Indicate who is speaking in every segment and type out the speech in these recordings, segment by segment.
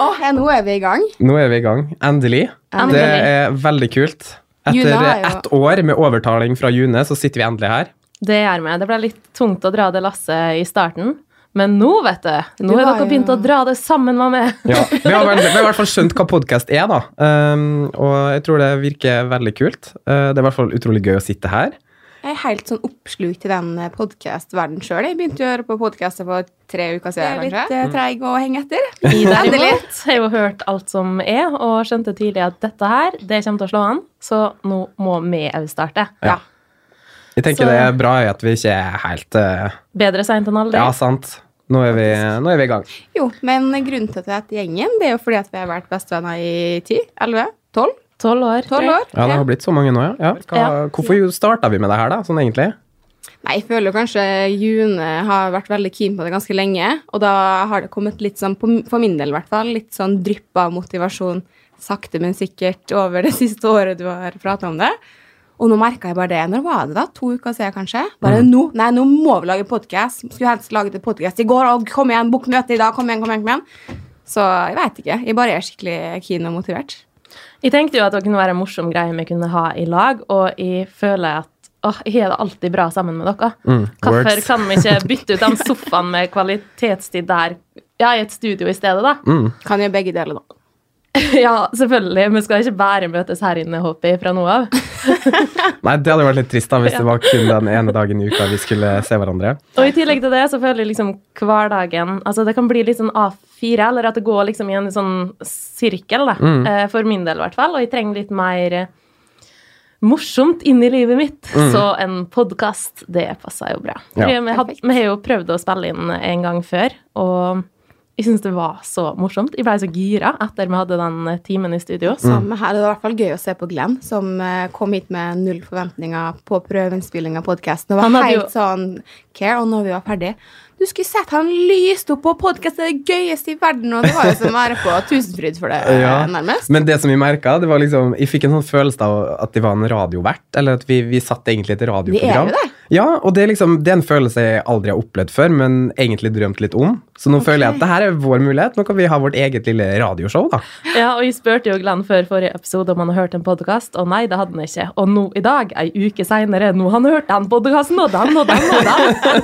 Speaker 1: Åh, ja, nå er vi i gang.
Speaker 2: Nå er vi i gang. Endelig.
Speaker 1: Endelig.
Speaker 2: Det er veldig kult. Etter
Speaker 1: Juna er jo-
Speaker 2: ett år med overtaling fra June, så sitter vi endelig her.
Speaker 3: Det gjør meg. Det ble litt tungt å dra det lasset i starten. Men nå, vet du,
Speaker 1: Du
Speaker 3: nå har
Speaker 1: har jo-
Speaker 3: dere begynt å dra det sammen med meg.
Speaker 2: Ja, vi, har vel, vi har i hvert fall skjønt hva podkast er, da. Um, og jeg tror det virker veldig kult. Uh, det er i hvert fall utrolig gøy å sitte her.
Speaker 1: Jeg er helt sånn oppslukt i den podkast-verdenen sjøl. Jeg begynte å høre på podkaster for tre uker
Speaker 4: Jeg
Speaker 1: siden.
Speaker 4: er litt
Speaker 1: kanskje.
Speaker 4: eh, treig å henge etter.
Speaker 3: I
Speaker 1: Endelig.
Speaker 3: derimot har jeg jo hørt alt som er, og skjønte tidlig at dette her, det kommer til å slå an. Så nå må vi òg starte.
Speaker 2: Ja. Jeg tenker
Speaker 3: Så-
Speaker 2: det er bra at vi ikke er helt uh,
Speaker 3: Bedre seint enn aldri.
Speaker 2: Ja, sant. Nå er, vi, nå er vi i gang.
Speaker 1: Jo, men grunnen til at vi heter Gjengen, det er jo fordi at vi har vært bestevenner i 10, 11, 12,
Speaker 3: Tolv år.
Speaker 1: 12 år.
Speaker 2: Ja, det har blitt så mange nå, ja. ja. Hva,
Speaker 3: Ja.
Speaker 2: hvorfor starta vi med det her, da? Sånn egentlig?
Speaker 1: Nei, jeg føler jo kanskje June har vært veldig keen på det ganske lenge, og da har det kommet litt sånn, på- for min del i hvert fall, litt sånn drypp av motivasjon, sakte men sikkert, over det siste året du har pratet om det. Og nå merket jeg bare det. Når var det da? To uker siden kanskje? Bare nå? Nei, nå må vi lage podcast. Skulle helst laget en podcast i går, og kom igjen, bok møte i dag, kom igjen, kom igjen, kom igjen. Så jeg vet ikke. Jeg bare er skikkelig keen og motivert.
Speaker 3: Jeg tenkte jo at det kunne være en morsom greie vi kunne ha i lag, og jeg føler at åh, jeg har det alltid bra sammen med dere.
Speaker 2: Mm,
Speaker 3: Hvorfor
Speaker 2: words.
Speaker 3: kan vi ikke bytte ut den sofaen med kvalitetstid der? Ja, i et studio i stedet, da.
Speaker 1: Kan gjøre begge deler da.
Speaker 3: Ja, selvfølgelig. Vi skal ikke bare møtes her inne, håper jeg, fra nå av.
Speaker 2: Nei, det hadde vært litt trist da, hvis det var kun den ene dagen i uka vi skulle se hverandre.
Speaker 3: Og i tillegg til det, så føler jeg liksom hverdagen Altså, det kan bli litt sånn A4, eller at det går liksom i en sånn sirkel, da. Eh, For min del, i hvert fall. Og jeg trenger litt mer eh, morsomt inn i livet mitt. Så en podkast, det passer jo bra.
Speaker 2: Ja.
Speaker 3: Fordi Vi, had, vi har jo prøvd å spille inn en gang før, og jeg syns det var så morsomt. Jeg blei så gira etter vi hadde den eh, timen i studio.
Speaker 1: Samme her. Det var i hvert fall gøy å se på Glenn, som eh, kom hit med null forventninger på prøveinnspilling av podkasten. Og var
Speaker 3: Han hadde
Speaker 1: helt sånn care. Og når vi var ferdig Du skulle sett han lyste opp på podkast! Det er det gøyeste i verden! Og det var jo som å være på Tusenfryd for det, eh,
Speaker 2: Ja,
Speaker 1: nærmest.
Speaker 2: Men det som vi merka, det var liksom Jeg fikk en sånn følelse av at de var en radiovert. Eller at vi, vi satt egentlig i et radioprogram.
Speaker 1: Vi er jo det.
Speaker 2: Ja, og det er liksom Det er en følelse jeg aldri har opplevd før, men egentlig drømt litt om. Så nå føler jeg at det her er vår mulighet. Nå kan vi ha vårt eget lille radioshow, da.
Speaker 3: Ja, og jeg spurte jo Glenn før forrige episode om han har hørt en podkast, og nei, det hadde han ikke. Og nå i dag, ei uke seinere, nå han hørte han podkasten, og den og den og den.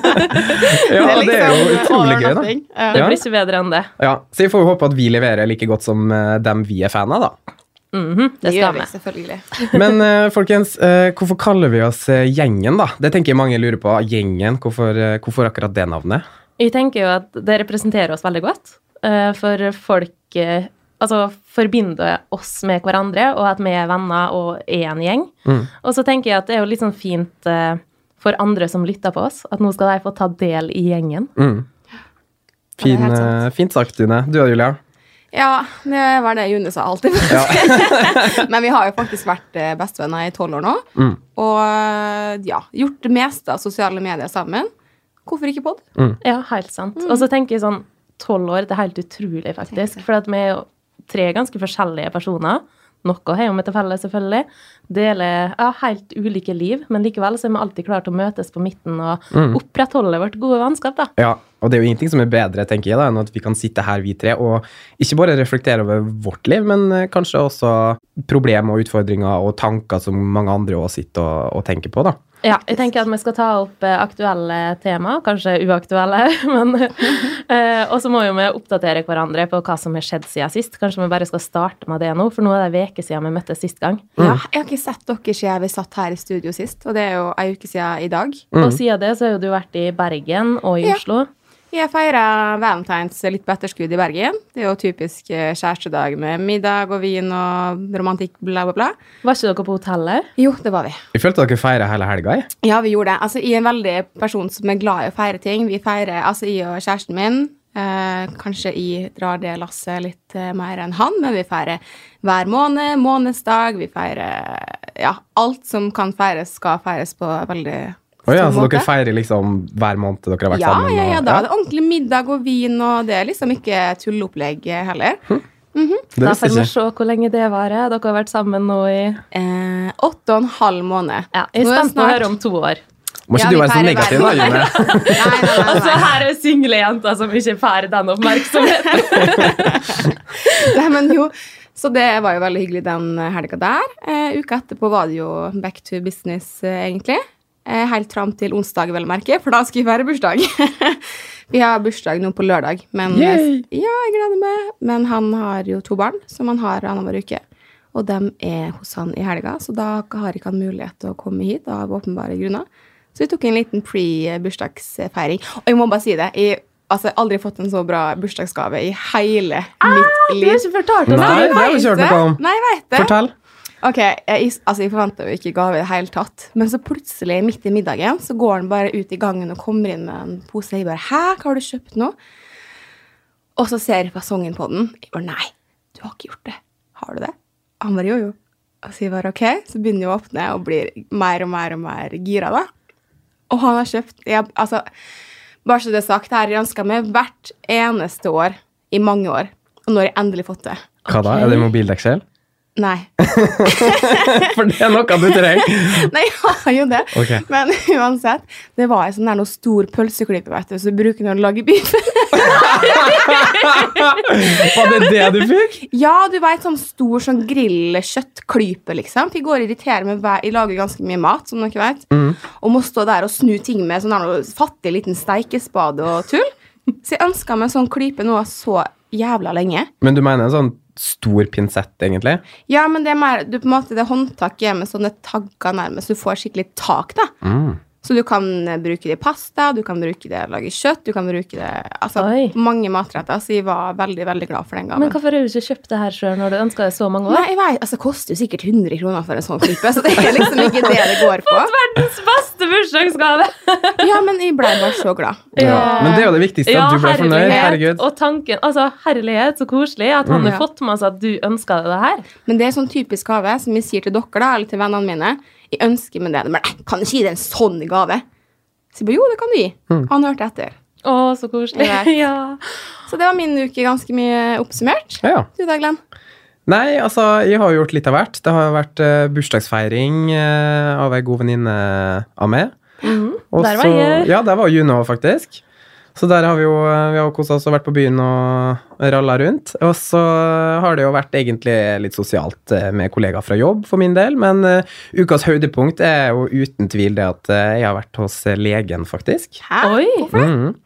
Speaker 2: Ja, det er, jo
Speaker 1: liksom
Speaker 2: utrolig
Speaker 1: over
Speaker 2: gøy, da.
Speaker 1: nothing. Ja.
Speaker 3: Det
Speaker 2: Ja.
Speaker 3: blir ikke bedre enn det.
Speaker 2: Ja, Så vi får håpe at vi leverer like godt som eh, dem vi er fan av, da.
Speaker 3: Mhm, Det
Speaker 1: gjør
Speaker 3: skal
Speaker 1: vi
Speaker 3: vi.
Speaker 1: selvfølgelig.
Speaker 2: Men eh, folkens, eh, hvorfor kaller vi oss eh, Gjengen, da? Det tenker jeg mange lurer på. Gjengen, hvorfor, eh, hvorfor akkurat det navnet?
Speaker 3: Jeg tenker jo at det representerer oss veldig godt, eh, for folk eh, altså forbinder oss med hverandre, og at vi er venner og er en gjeng. Og så tenker jeg at det er jo litt sånn fint eh, for andre som lytter på oss, at nå skal de få ta del i gjengen.
Speaker 1: det er
Speaker 2: Mm. Fin,
Speaker 1: helt
Speaker 2: eh, fint sagt, June. Du da, Julia?
Speaker 1: Ja, det var det June sa alltid. Men vi har jo faktisk vært eh, bestevenner i tolv år nå.
Speaker 3: Mm.
Speaker 1: Og eh, ja, gjort det meste av sosiale medier sammen. Hvorfor ikke pod?
Speaker 3: Ja, helt sant. Og så tenker jeg sånn, tolv år, det er helt utrolig faktisk. For at vi er jo tre ganske forskjellige personer. Noe har jo vi til felles, selvfølgelig. Deler ja, helt ulike liv, men likevel så er vi alltid klart å møtes på midten og opprettholde vårt gode vennskap, da.
Speaker 2: Ja, og det er jo ingenting som er bedre, tenker jeg, da, enn at vi kan sitte her, vi tre, og ikke bare reflektere over vårt liv, men eh, kanskje også problemer og utfordringer og tanker som mange andre også sitter og, og tenker på, da.
Speaker 3: Ja, jeg tenker at vi skal ta opp eh, aktuelle tema, kanskje uaktuelle, men eh, Og så må jo vi oppdatere hverandre på hva som har skjedd siden sist. Kanskje vi bare skal starte med det nå, for nå er det en uke siden vi møttes sist gang.
Speaker 1: Ja, jeg har ikke sett dere siden vi satt her i studio sist, og det er jo ei uke siden i dag.
Speaker 3: Og siden det så har jo du vært i Bergen og i
Speaker 1: Ja.
Speaker 3: Oslo.
Speaker 1: Jeg feira valentines litt på etterskudd i Bergen. Det er jo typisk eh, kjærestedag med middag og vin og romantikk, bla, bla, bla.
Speaker 3: Var ikke dere på hotellet?
Speaker 1: Jo, det var vi.
Speaker 2: Jeg følte dere feira hele helga, jeg.
Speaker 1: Ja, vi gjorde det. Altså, jeg er en veldig person som er glad i å feire ting. Vi feirer, altså jeg og kjæresten min, eh, kanskje jeg drar det lasset litt eh, mer enn han, men vi feirer hver måned, månedsdag, vi feirer, ja, alt som kan feires skal feires på veldig
Speaker 2: Å ja,
Speaker 1: stor
Speaker 2: så
Speaker 1: måte.
Speaker 2: dere feirer liksom hver måned dere har vært
Speaker 1: Ja,
Speaker 2: sammen?
Speaker 1: ja, ja,
Speaker 2: og-
Speaker 1: da er det ordentlig middag og vin, og det er liksom ikke tulleopplegg eh, heller.
Speaker 2: det
Speaker 3: Da
Speaker 2: visste
Speaker 3: får vi
Speaker 2: jeg ikke.
Speaker 3: se hvor lenge det varer. Dere har vært sammen nå i
Speaker 1: Eh, åtte og en halv måned.
Speaker 3: ja, Jeg er
Speaker 1: Nå det
Speaker 3: spent på å høre om to år.
Speaker 2: Må ikke
Speaker 1: Ja, vi
Speaker 2: du være så
Speaker 1: feirer
Speaker 2: negativ, da,
Speaker 1: hver
Speaker 2: June?
Speaker 1: Nei, nei, nei,
Speaker 3: Altså,
Speaker 1: nei.
Speaker 3: her er single jenter som ikke får den oppmerksomheten.
Speaker 1: Men jo, så det var jo veldig hyggelig den helga der. Eh, uka etterpå var det jo back to business, eh, egentlig. Eh, helt fram til onsdag, vel å merke, for da skulle vi feire bursdag. vi har bursdag nå på lørdag, men
Speaker 2: Yay!
Speaker 1: ja, jeg gleder meg. Men han har jo to barn som han har annenhver uke. Og dem er hos han i helga, så da har ikke han mulighet til å komme hit av åpenbare grunner. Så vi tok en liten pre-bursdagsfeiring. Og jeg må bare si det. Jeg altså, jeg har aldri fått en så bra bursdagsgave i hele
Speaker 2: Ah,
Speaker 1: mitt
Speaker 3: Du har
Speaker 1: liv.
Speaker 3: ikke fortalt oss
Speaker 2: Nei,
Speaker 3: det!
Speaker 2: det har vi ikke hørt noe om.
Speaker 1: Nei, jeg vet det.
Speaker 2: Fortell.
Speaker 1: Ok, jeg, altså jeg forventa jo ikke gave i det hele tatt. Men så plutselig, midt i middagen, så går han bare ut i gangen og kommer inn med en pose. Jeg bare 'Hæ, hva har du kjøpt nå?' Og så ser jeg fasongen på den. Jeg bare 'Nei, du har ikke gjort det. Har du det?' Han bare 'Jo, jo'. Og så jeg bare 'Ok', så begynner jeg å åpne og blir mer og mer og mer gira, da. Og han har kjøpt jeg, altså, Bare så det er sagt, det her ransker meg hvert eneste år i mange år. Og nå har jeg endelig fått det.
Speaker 2: Hva da? Er det mobildekksel?
Speaker 1: Nei.
Speaker 2: For det er noe du trenger.
Speaker 1: Nei, jeg har jo det.
Speaker 2: Ok.
Speaker 1: Men uansett, det var en sånn der noe stor pølseklype, vet du, så bruker den å lage biff.
Speaker 2: Var det det du fikk?
Speaker 1: ja, du veit, sånn stor sånn grillkjøttklype, liksom. Vi går og irriterer meg hver Jeg lager ganske mye mat, som dere vet. Og må stå der og snu ting med sånn der noe fattig liten steikespade og tull. Så jeg ønska meg en sånn klype nå så jævla lenge.
Speaker 2: Men du mener en sånn stor pinsett, egentlig?
Speaker 1: Ja, men det er mer, du, på en måte, det håndtaket er med sånne tagger nærmest. Du får skikkelig tak, da.
Speaker 2: Mm.
Speaker 1: Så du kan eh, bruke det i pasta, du kan bruke det til å lage kjøtt, du kan bruke det altså,
Speaker 3: Oi.
Speaker 1: mange matretter. Så jeg var veldig veldig glad for den gaven.
Speaker 3: Men hvorfor har du ikke kjøpt det her sjøl når du ønska det så mange år?
Speaker 1: Nei, jeg vet, altså, Det koster jo sikkert 100 kroner for en sånn klippe, så det er liksom ikke det det går på.
Speaker 3: Verdens beste bursdagsgave!
Speaker 1: Ja, men jeg ble bare så glad.
Speaker 2: Ja. Men det er jo det viktigste, at du ble fornøyd.
Speaker 3: herlighet.
Speaker 2: Herregud.
Speaker 3: Og tanken, altså, herlighet, så koselig at han
Speaker 1: Mm.
Speaker 3: har fått med seg at du ønska deg det her.
Speaker 1: Men det er sånn typisk gave som jeg sier til dere da, eller til vennene mine. Jeg ønsker meg det, men jeg kan ikke gi deg en sånn gave. Så jeg bare, jo, det kan du gi.
Speaker 2: Mm.
Speaker 1: Han hørte etter.
Speaker 3: Å, så koselig.
Speaker 1: Jeg vet.
Speaker 3: ja.
Speaker 1: Så det var min uke ganske mye oppsummert.
Speaker 2: Ja, ja.
Speaker 1: Du da, Glenn?
Speaker 2: Nei, altså, jeg har gjort litt av hvert. Det har vært eh, bursdagsfeiring eh, av ei god venninne av meg. Og
Speaker 3: Mhm. Der var
Speaker 2: så-
Speaker 3: jeg.
Speaker 2: Ja, der var June òg, faktisk. Så der har vi jo eh, vi har kosa oss og vært på byen og ralla rundt. Og så har det jo vært egentlig litt sosialt eh, med kollegaer fra jobb for min del, men eh, ukas høydepunkt er jo uten tvil det at eh, jeg har vært hos eh, legen, faktisk.
Speaker 1: Hæ?
Speaker 3: Oi!
Speaker 2: Mhm.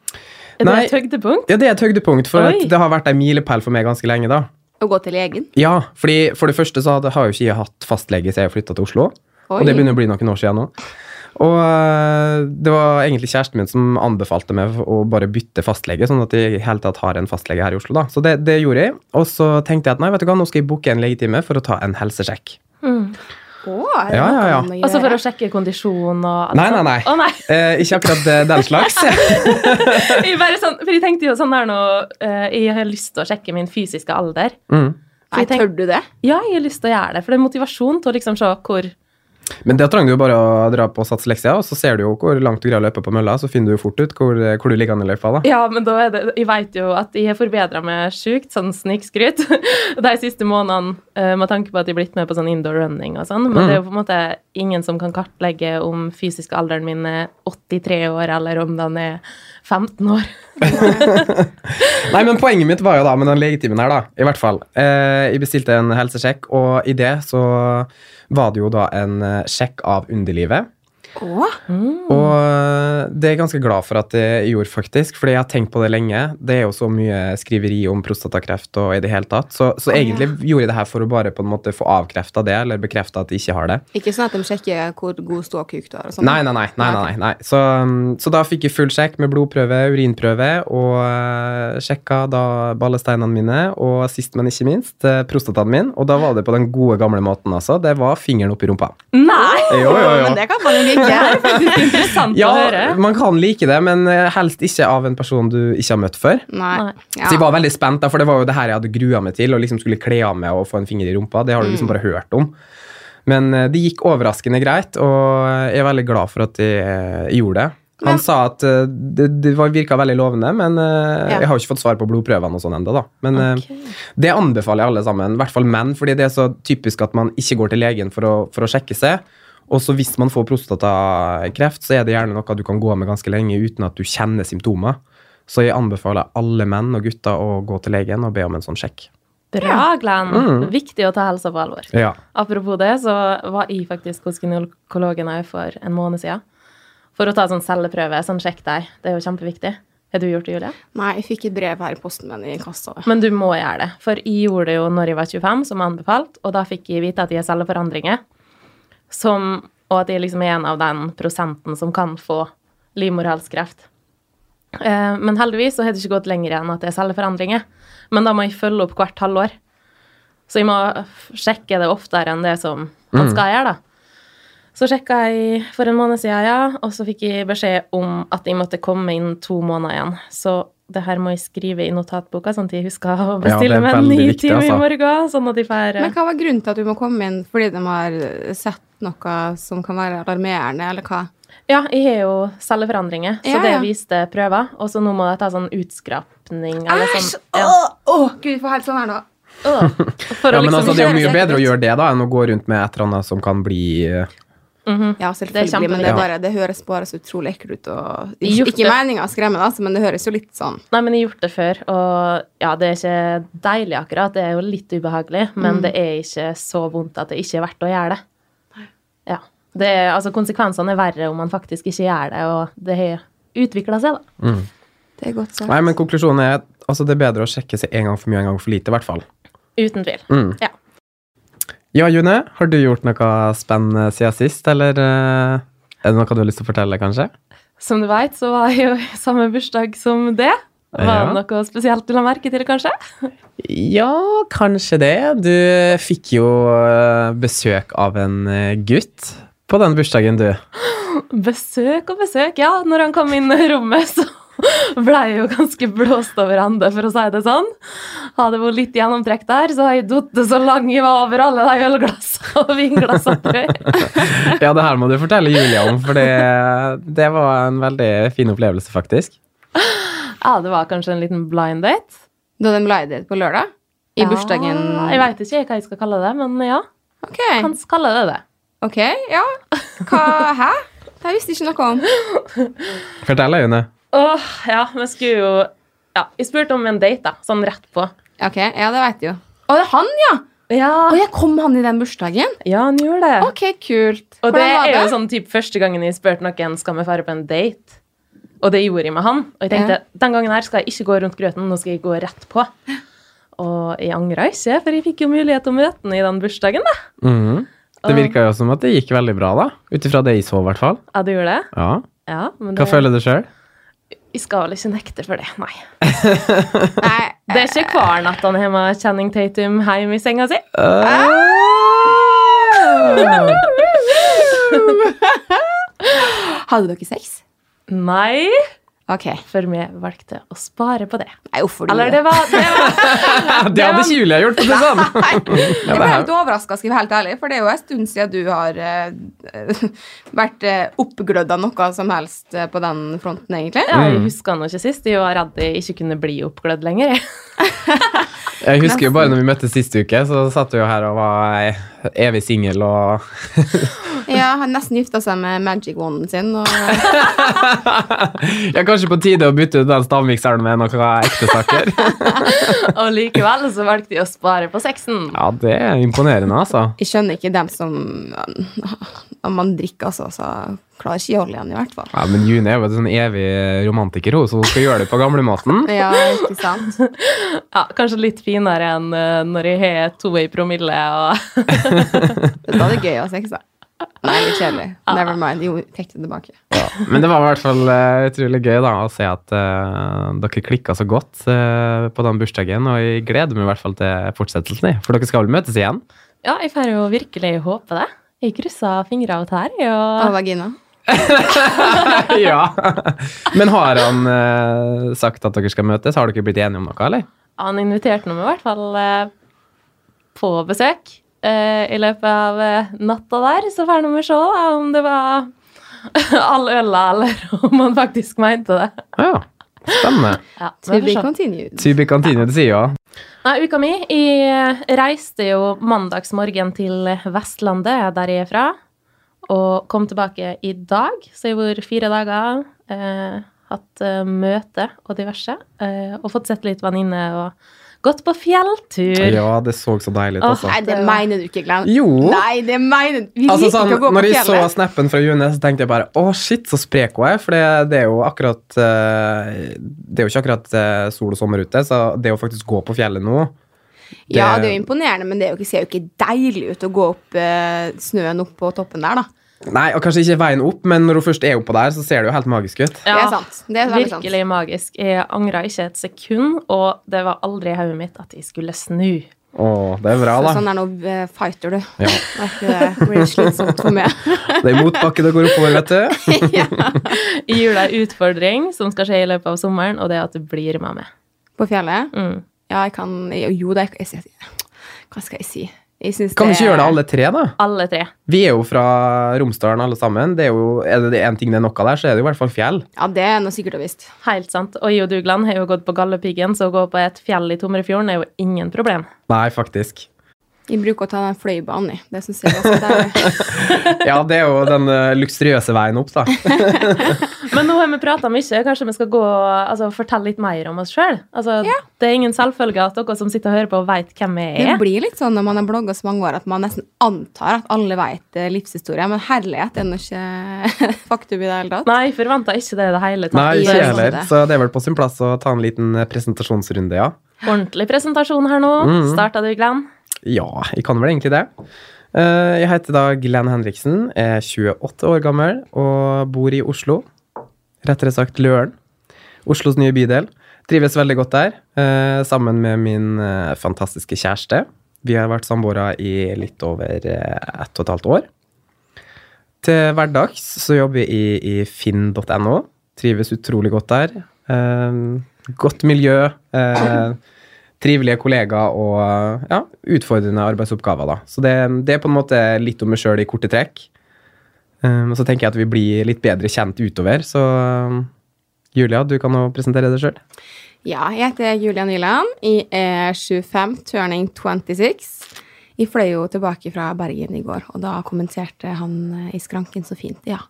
Speaker 3: Er det
Speaker 2: Nei.
Speaker 3: et høydepunkt?
Speaker 2: Ja, det er et høydepunkt, for at
Speaker 3: Oi.
Speaker 2: det har vært ei milepæl for meg ganske lenge, da.
Speaker 1: Å gå til legen?
Speaker 2: Ja, fordi for det første så hadde, har jo ikke jeg hatt fastlege siden jeg flytta til Oslo.
Speaker 1: Oi.
Speaker 2: Og det begynner å bli noen år siden nå. Og øh, det var egentlig kjæresten min som anbefalte meg å bare bytte fastlege, sånn at jeg i hele tatt har en fastlege her i Oslo, da. Så det, det gjorde jeg. Og så tenkte jeg at nei, vet du hva, nå skal jeg booke en legetime for å ta en helsesjekk.
Speaker 1: Å, er det
Speaker 2: Ja,
Speaker 1: noe
Speaker 2: ja, ja.
Speaker 1: man må
Speaker 3: Altså
Speaker 1: gjøre?
Speaker 3: for å sjekke kondisjon og alt
Speaker 2: Nei, nei,
Speaker 3: sånt?
Speaker 2: nei.
Speaker 3: Å, nei.
Speaker 2: Eh, ikke akkurat eh, den slags.
Speaker 3: Jeg bare sånn, for jeg tenkte jo sånn her nå eh, Jeg har lyst til å sjekke min fysiske alder.
Speaker 2: Mm.
Speaker 3: Så
Speaker 1: Nei,
Speaker 3: jeg tenk,
Speaker 1: tør du det?
Speaker 3: ja, jeg har lyst til å gjøre det, for det er motivasjon til å liksom se hvor
Speaker 2: Men da trenger du jo bare å dra på satsleksia, og så ser du jo hvor langt du greier å løpe på mølla, så finner du jo fort ut hvor, hvor du ligger an i løypa, da.
Speaker 3: Ja, men da er det, jeg vet jo at jeg har forbedra meg sjukt, sånn snikskryt, de siste månedene eh, med tanke på at jeg har blitt med på sånn indoor running og sånn. Men det
Speaker 2: Mm.
Speaker 3: er jo på en måte ingen som kan kartlegge om fysisk alderen min er 83 år, eller om den er 15 år.
Speaker 2: Nei, men poenget mitt var jo da med den legetimen her, da. I hvert fall. Eh, jeg bestilte en helsesjekk, og i det så var det jo da en eh, sjekk av underlivet.
Speaker 1: Å,
Speaker 2: Og eh, det er jeg ganske glad for at jeg gjorde, faktisk, fordi jeg har tenkt på det lenge. Det er jo så mye skriveri om prostatakreft og i det hele tatt, så, så egentlig gjorde jeg det her for å bare på en måte få avkrefta det, eller bekrefta at jeg ikke har det.
Speaker 1: Ikke sånn at de sjekker hvor god ståkuk du har og sånn?
Speaker 2: Nei, nei, nei. nei, nei, nei. Så, um, så da fikk jeg full sjekk med blodprøve, urinprøve, og eh, sjekka da ballesteinene mine, og sist, men ikke minst, eh, prostataen min. Og da var det på den gode, gamle måten, altså. Det var fingeren oppi rumpa.
Speaker 3: Nei!
Speaker 2: Jo, jo, jo.
Speaker 1: Men det kan man jo ikke.
Speaker 3: Det er interessant
Speaker 2: Ja,
Speaker 3: å høre.
Speaker 2: man kan like det, men eh, helst ikke av en person du ikke har møtt før.
Speaker 1: Nei.
Speaker 3: Nei.
Speaker 1: Ja.
Speaker 2: Så jeg var veldig spent, da, for det var jo det her jeg hadde grua meg til, og liksom skulle kle av meg og få en finger i rumpa. Det har du
Speaker 1: Mm.
Speaker 2: liksom bare hørt om. Men eh, det gikk overraskende greit, og jeg er veldig glad for at jeg eh, gjorde det. Han
Speaker 1: Men-
Speaker 2: sa at eh, det, det var- virka veldig lovende, men eh,
Speaker 1: Ja.
Speaker 2: jeg har jo ikke fått svar på blodprøvene og sånn ennå, da. Men eh,
Speaker 3: Ok.
Speaker 2: det anbefaler jeg alle sammen, i hvert fall menn, fordi det er så typisk at man ikke går til legen for å, for å sjekke seg. Og så hvis man får prostatakreft, så er det gjerne noe du kan gå med ganske lenge uten at du kjenner symptomer. Så jeg anbefaler alle menn og gutter å gå til legen og be om en sånn sjekk.
Speaker 3: Bra, Glenn!
Speaker 2: Mm.
Speaker 3: Viktig å ta helsa på alvor.
Speaker 2: Ja.
Speaker 3: Apropos det, så var jeg faktisk hos gynekologen også for en måned siden. For å ta sånn celleprøve, sånn sjekk deg. Det er jo kjempeviktig. Har du gjort det, Julie?
Speaker 1: Nei, jeg fikk et brev her i posten, men jeg kasta det.
Speaker 3: Men du må gjøre det. For jeg gjorde det jo når jeg var 25, som anbefalt, og da fikk jeg vite at jeg har celleforandringer. Som, og at jeg liksom er en av den prosenten som kan få livmorhalskreft. Eh, men heldigvis så har det ikke gått lenger enn at det er celleforandringer. Men da må jeg følge opp hvert halvår. Så jeg må f- sjekke det oftere enn det som
Speaker 2: Mm.
Speaker 3: man skal gjøre, da. Så sjekka jeg for en måned siden, ja, og så fikk jeg beskjed om at jeg måtte komme innen to måneder igjen. Så det her må jeg skrive i notatboka, sånn at jeg husker å
Speaker 2: Ja, det er
Speaker 3: bestille meg en
Speaker 2: veldig
Speaker 3: ny
Speaker 2: viktig,
Speaker 3: time i
Speaker 2: altså.
Speaker 3: morgen. Sånn at jeg får
Speaker 1: Men hva var grunnen til at du må komme inn? Fordi de har sett noe som kan være alarmerende, eller hva?
Speaker 3: Ja, jeg har jo celleforandringer, så
Speaker 1: Ja,
Speaker 3: det
Speaker 1: ja.
Speaker 3: viste prøver. Og så nå må jeg ta sånn utskrapning eller sånn. Ja.
Speaker 1: Åh, gud, få helt sånn her nå.
Speaker 3: Øh, For
Speaker 2: ja,
Speaker 3: å
Speaker 2: men
Speaker 3: liksom
Speaker 2: altså, det er jo
Speaker 3: kjøre
Speaker 2: mye
Speaker 3: seg
Speaker 2: bedre å
Speaker 3: ut.
Speaker 2: gjøre det da enn å gå rundt med et eller annet som kan bli eh,
Speaker 3: Mhm.
Speaker 1: Ja, selvfølgelig,
Speaker 3: Det er
Speaker 1: men det, er
Speaker 2: kjempeviktig.
Speaker 1: bare, det høres bare så utrolig ekkelt ut. Og,
Speaker 3: I hjorte.
Speaker 1: ikke meninga å skremme, altså, men det høres jo litt sånn
Speaker 3: Nei, men jeg har gjort det før, og ja, det er ikke deilig akkurat. Det er jo litt ubehagelig, men det er ikke så vondt at det ikke er verdt å gjøre det. Ja. Det er, altså, konsekvensene er verre om man faktisk ikke gjør det, og det har utvikla seg, da.
Speaker 1: Det er godt sagt.
Speaker 2: mm. Nei, men konklusjonen er at altså, det er bedre å sjekke seg en gang for mye enn en gang for lite, i hvert fall.
Speaker 3: Uten tvil.
Speaker 2: Mm.
Speaker 3: Ja.
Speaker 2: Ja, June, har du gjort noe spennende siden sist, eller eh, er det noe du har lyst til å fortelle, kanskje?
Speaker 3: Som du veit, så var jeg jo i samme bursdag som det. Var
Speaker 2: Ja.
Speaker 3: det noe spesielt du la merke til, kanskje?
Speaker 2: Ja, kanskje det. Du fikk jo eh, besøk av en eh, gutt på den bursdagen, du.
Speaker 3: Besøk og besøk, ja. Når han kom inn i rommet, så ble jeg jo ganske blåst over ende, for å si det sånn. Hadde vært litt gjennomtrekk der, så har jeg datt så lang jeg var over alle de ølglassene og vinglassene. tror jeg.
Speaker 2: Ja, det her må du fortelle Julia om, for det, det var en veldig fin opplevelse, faktisk.
Speaker 3: Ja, det var kanskje en liten blind date.
Speaker 1: Da den ble date på lørdag? I bursdagen
Speaker 3: Ja, jeg veit ikke hva jeg skal kalle det, men ja,
Speaker 1: Ok,
Speaker 3: kan kalle det det.
Speaker 1: ok, ja. Hva, hæ? Det visste jeg ikke noe om.
Speaker 2: Fortell, da, June.
Speaker 3: Åh, ja, vi skulle jo Ja, jeg spurte om en date, da, sånn rett på.
Speaker 1: Ok, ja, det veit jeg jo. Å, det er han, ja!
Speaker 3: Ja,
Speaker 1: Å, jeg kom han i den bursdagen.
Speaker 3: ja han gjorde det.
Speaker 1: Ok, kult.
Speaker 3: Og det
Speaker 1: Hvordan var
Speaker 3: er jo
Speaker 1: det?
Speaker 3: sånn typ første gangen jeg spurte noen skal vi fare på en date. Og det gjorde jeg med han. Og jeg
Speaker 1: Ja.
Speaker 3: tenkte den gangen her skal jeg ikke gå rundt grøten, nå skal jeg gå rett på. Og jeg angra ikke, for jeg fikk jo mulighet til å møte han i den bursdagen. da.
Speaker 2: Mhm. Det virka jo som at det gikk veldig bra, da. Ut ifra det jeg så, i hvert fall.
Speaker 3: Ja, du gjorde det?
Speaker 2: Ja.
Speaker 3: Ja, men
Speaker 2: Hva
Speaker 3: det,
Speaker 2: føler du sjøl?
Speaker 3: jeg skal vel ikke nekte for det, nei. sånn-
Speaker 1: Nei,
Speaker 3: Det er
Speaker 1: Eh.
Speaker 3: ikke hver natt han har med Channing Tatum hjemme i senga si.
Speaker 1: hadde dere sex?
Speaker 3: Nei,
Speaker 1: Ok.
Speaker 3: for vi valgte å spare på det.
Speaker 1: Nei, hvorfor
Speaker 3: Eller det var, det var
Speaker 2: Det hadde ikke Julia gjort, for å si det sånn.
Speaker 1: Jeg ble litt overraska, skal jeg være helt ærlig, for det er jo en stund siden du har eh, vært eh, oppglødd av noe som helst eh, på den fronten, egentlig.
Speaker 3: ja, Jeg husker han jo ikke sist. Jeg var redd jeg ikke kunne bli oppglødd lenger. jeg.
Speaker 2: Jeg husker jo bare når vi møttes sist uke, så satt du jo her og var evig singel og
Speaker 1: Ja, Han nesten gifta seg med magic wanden sin. Og,
Speaker 2: Ja, kanskje på tide å bytte ut den stavmikseren med noe ekte saker.
Speaker 3: Og likevel så valgte jeg å spare på sexen.
Speaker 2: Ja, det er imponerende, altså.
Speaker 1: jeg skjønner ikke dem som Om man drikker, altså, så klarer ikke jeg å holde igjen, i hvert fall.
Speaker 2: Ja, men June er jo en sånn evig romantiker, hun, så hun skal gjøre det på gamlemåten.
Speaker 1: Ja, ikke sant?
Speaker 3: Ja, kanskje litt finere enn eh, når jeg har to i promille og
Speaker 1: Da er det gøy å ha sex, da. Nei, litt kjedelig. Never mind. Jo, trekk det tilbake.
Speaker 2: Men det var i hvert fall eh, utrolig gøy da, å se at eh, dere klikka så godt eh, på den bursdagen, og jeg gleder meg i hvert fall til fortsettelsen, jeg. for dere skal vel møtes igjen?
Speaker 3: Ja, jeg får jo virkelig håpe det. Jeg kryssa fingre og tær.
Speaker 1: Og
Speaker 3: Og...
Speaker 1: vagina.
Speaker 2: ja. Men har han eh, sagt at dere skal møtes? Har dere blitt enige om noe, eller?
Speaker 3: Han inviterte meg i hvert fall eh, på besøk. Eh, I løpet av eh, natta der så får vi se da, om det var all øla, eller om han faktisk mente det.
Speaker 2: Ja. Spennende.
Speaker 3: Ja,
Speaker 1: To
Speaker 3: vi får
Speaker 1: be
Speaker 3: se.
Speaker 1: continued.
Speaker 2: To be continued, sier jo.
Speaker 3: Nei, uka mi. Jeg reiste jo mandagsmorgen til Vestlandet, der jeg er fra, og kom tilbake i dag. Så jeg har vært fire dager, eh, hatt eh, møte og diverse, eh, og fått sett litt venninner og Gått på fjelltur.
Speaker 2: Ja, det så så deilig ut,
Speaker 3: Åh,
Speaker 2: altså.
Speaker 1: Nei, det mener du ikke, Glenn.
Speaker 2: Jo.
Speaker 1: Nei, det mener Vi
Speaker 2: Altså,
Speaker 1: liker
Speaker 2: sånn,
Speaker 1: ikke å gå på
Speaker 2: når jeg så
Speaker 1: fjellet.
Speaker 2: snappen fra June, så tenkte jeg bare å, shit, så sprek hun er. For det, det er jo akkurat eh, Det er jo ikke akkurat eh, sol og sommer ute, så det å faktisk gå på fjellet nå
Speaker 1: Ja, det er jo imponerende, men det er jo ikke, ser jo ikke deilig ut å gå opp eh, snøen opp på toppen der, da.
Speaker 2: Nei, og kanskje ikke veien opp, men når hun først er oppå der, så ser det jo helt magisk ut.
Speaker 1: Det er sant. Det er veldig sant.
Speaker 3: Virkelig magisk. Jeg angra ikke et sekund, og det var aldri i hodet mitt at jeg skulle snu.
Speaker 2: Å, det er bra,
Speaker 1: Så
Speaker 2: da.
Speaker 1: sånn er nå eh, fighter, du.
Speaker 2: Ja.
Speaker 1: Det er ikke det blir slitsomt for meg.
Speaker 2: Det er motbakke det går oppover, vet du.
Speaker 3: Jeg gir deg en utfordring som skal skje i løpet av sommeren, og det er at du blir med meg.
Speaker 1: På fjellet?
Speaker 3: Mm.
Speaker 1: Ja, jeg kan Jo, det er jeg, jeg, Hva skal jeg si? Jeg syns
Speaker 2: Kan vi ikke gjøre det alle tre, da?
Speaker 3: Alle tre.
Speaker 2: Vi er jo fra Romsdalen alle sammen. Det er jo, er det én ting det er nok av der, så er det jo i hvert fall fjell.
Speaker 1: Ja, det er noe sikkert og visst.
Speaker 3: Helt sant. Og jeg og Dugland har jo gått på Galdhøpiggen, så å gå på et fjell i Tomrefjorden er jo ingen problem.
Speaker 2: Nei, faktisk.
Speaker 1: Vi bruker å ta den fløibanen, jeg. Det syns jeg er ganske deilig.
Speaker 2: Ja, det er jo den eh, luksuriøse veien opp, da.
Speaker 3: Men nå har vi prata mye. Kanskje vi skal gå altså, fortelle litt mer om oss sjøl? Altså, Det er ingen selvfølge at dere som sitter og hører på, veit hvem vi
Speaker 1: Det
Speaker 3: er.
Speaker 1: blir litt sånn når man har blogga så mange år at man nesten antar at alle vet eh, livshistorie, men herlighet det er nå ikke faktum i det hele tatt.
Speaker 3: Nei, jeg forventa ikke det i det hele tatt.
Speaker 2: Nei,
Speaker 1: det
Speaker 2: ikke
Speaker 1: er
Speaker 2: jeg
Speaker 1: sant,
Speaker 2: heller.
Speaker 1: det.
Speaker 2: Så det er vel på sin plass å ta en liten eh, presentasjonsrunde, ja.
Speaker 3: Ordentlig presentasjon her nå.
Speaker 2: Mm.
Speaker 3: Starta du, Glenn?
Speaker 2: Ja, jeg kan vel egentlig det. Eh, Jeg heter da Glenn Henriksen, er 28 år gammel og bor i Oslo. Rettere sagt Løren. Oslos nye bydel. Trives veldig godt der, eh, sammen med min eh, fantastiske kjæreste. Vi har vært samboere i litt over eh, ett og et halvt år. Til hverdags så jobber jeg i, i finn.no. Trives utrolig godt der. Eh, godt miljø. Eh, trivelige kollegaer og ja, utfordrende arbeidsoppgaver. Da. Så det, det er på en måte litt om meg sjøl i korte trekk. Um, og så tenker jeg at vi blir litt bedre kjent utover, så um, Julia, du kan jo presentere deg sjøl.
Speaker 1: Ja, jeg heter Julia Nyland. Jeg er 25, turning 26. Jeg fløy jo tilbake fra Bergen i går, og da kommenterte han eh, i skranken så fint. Ja,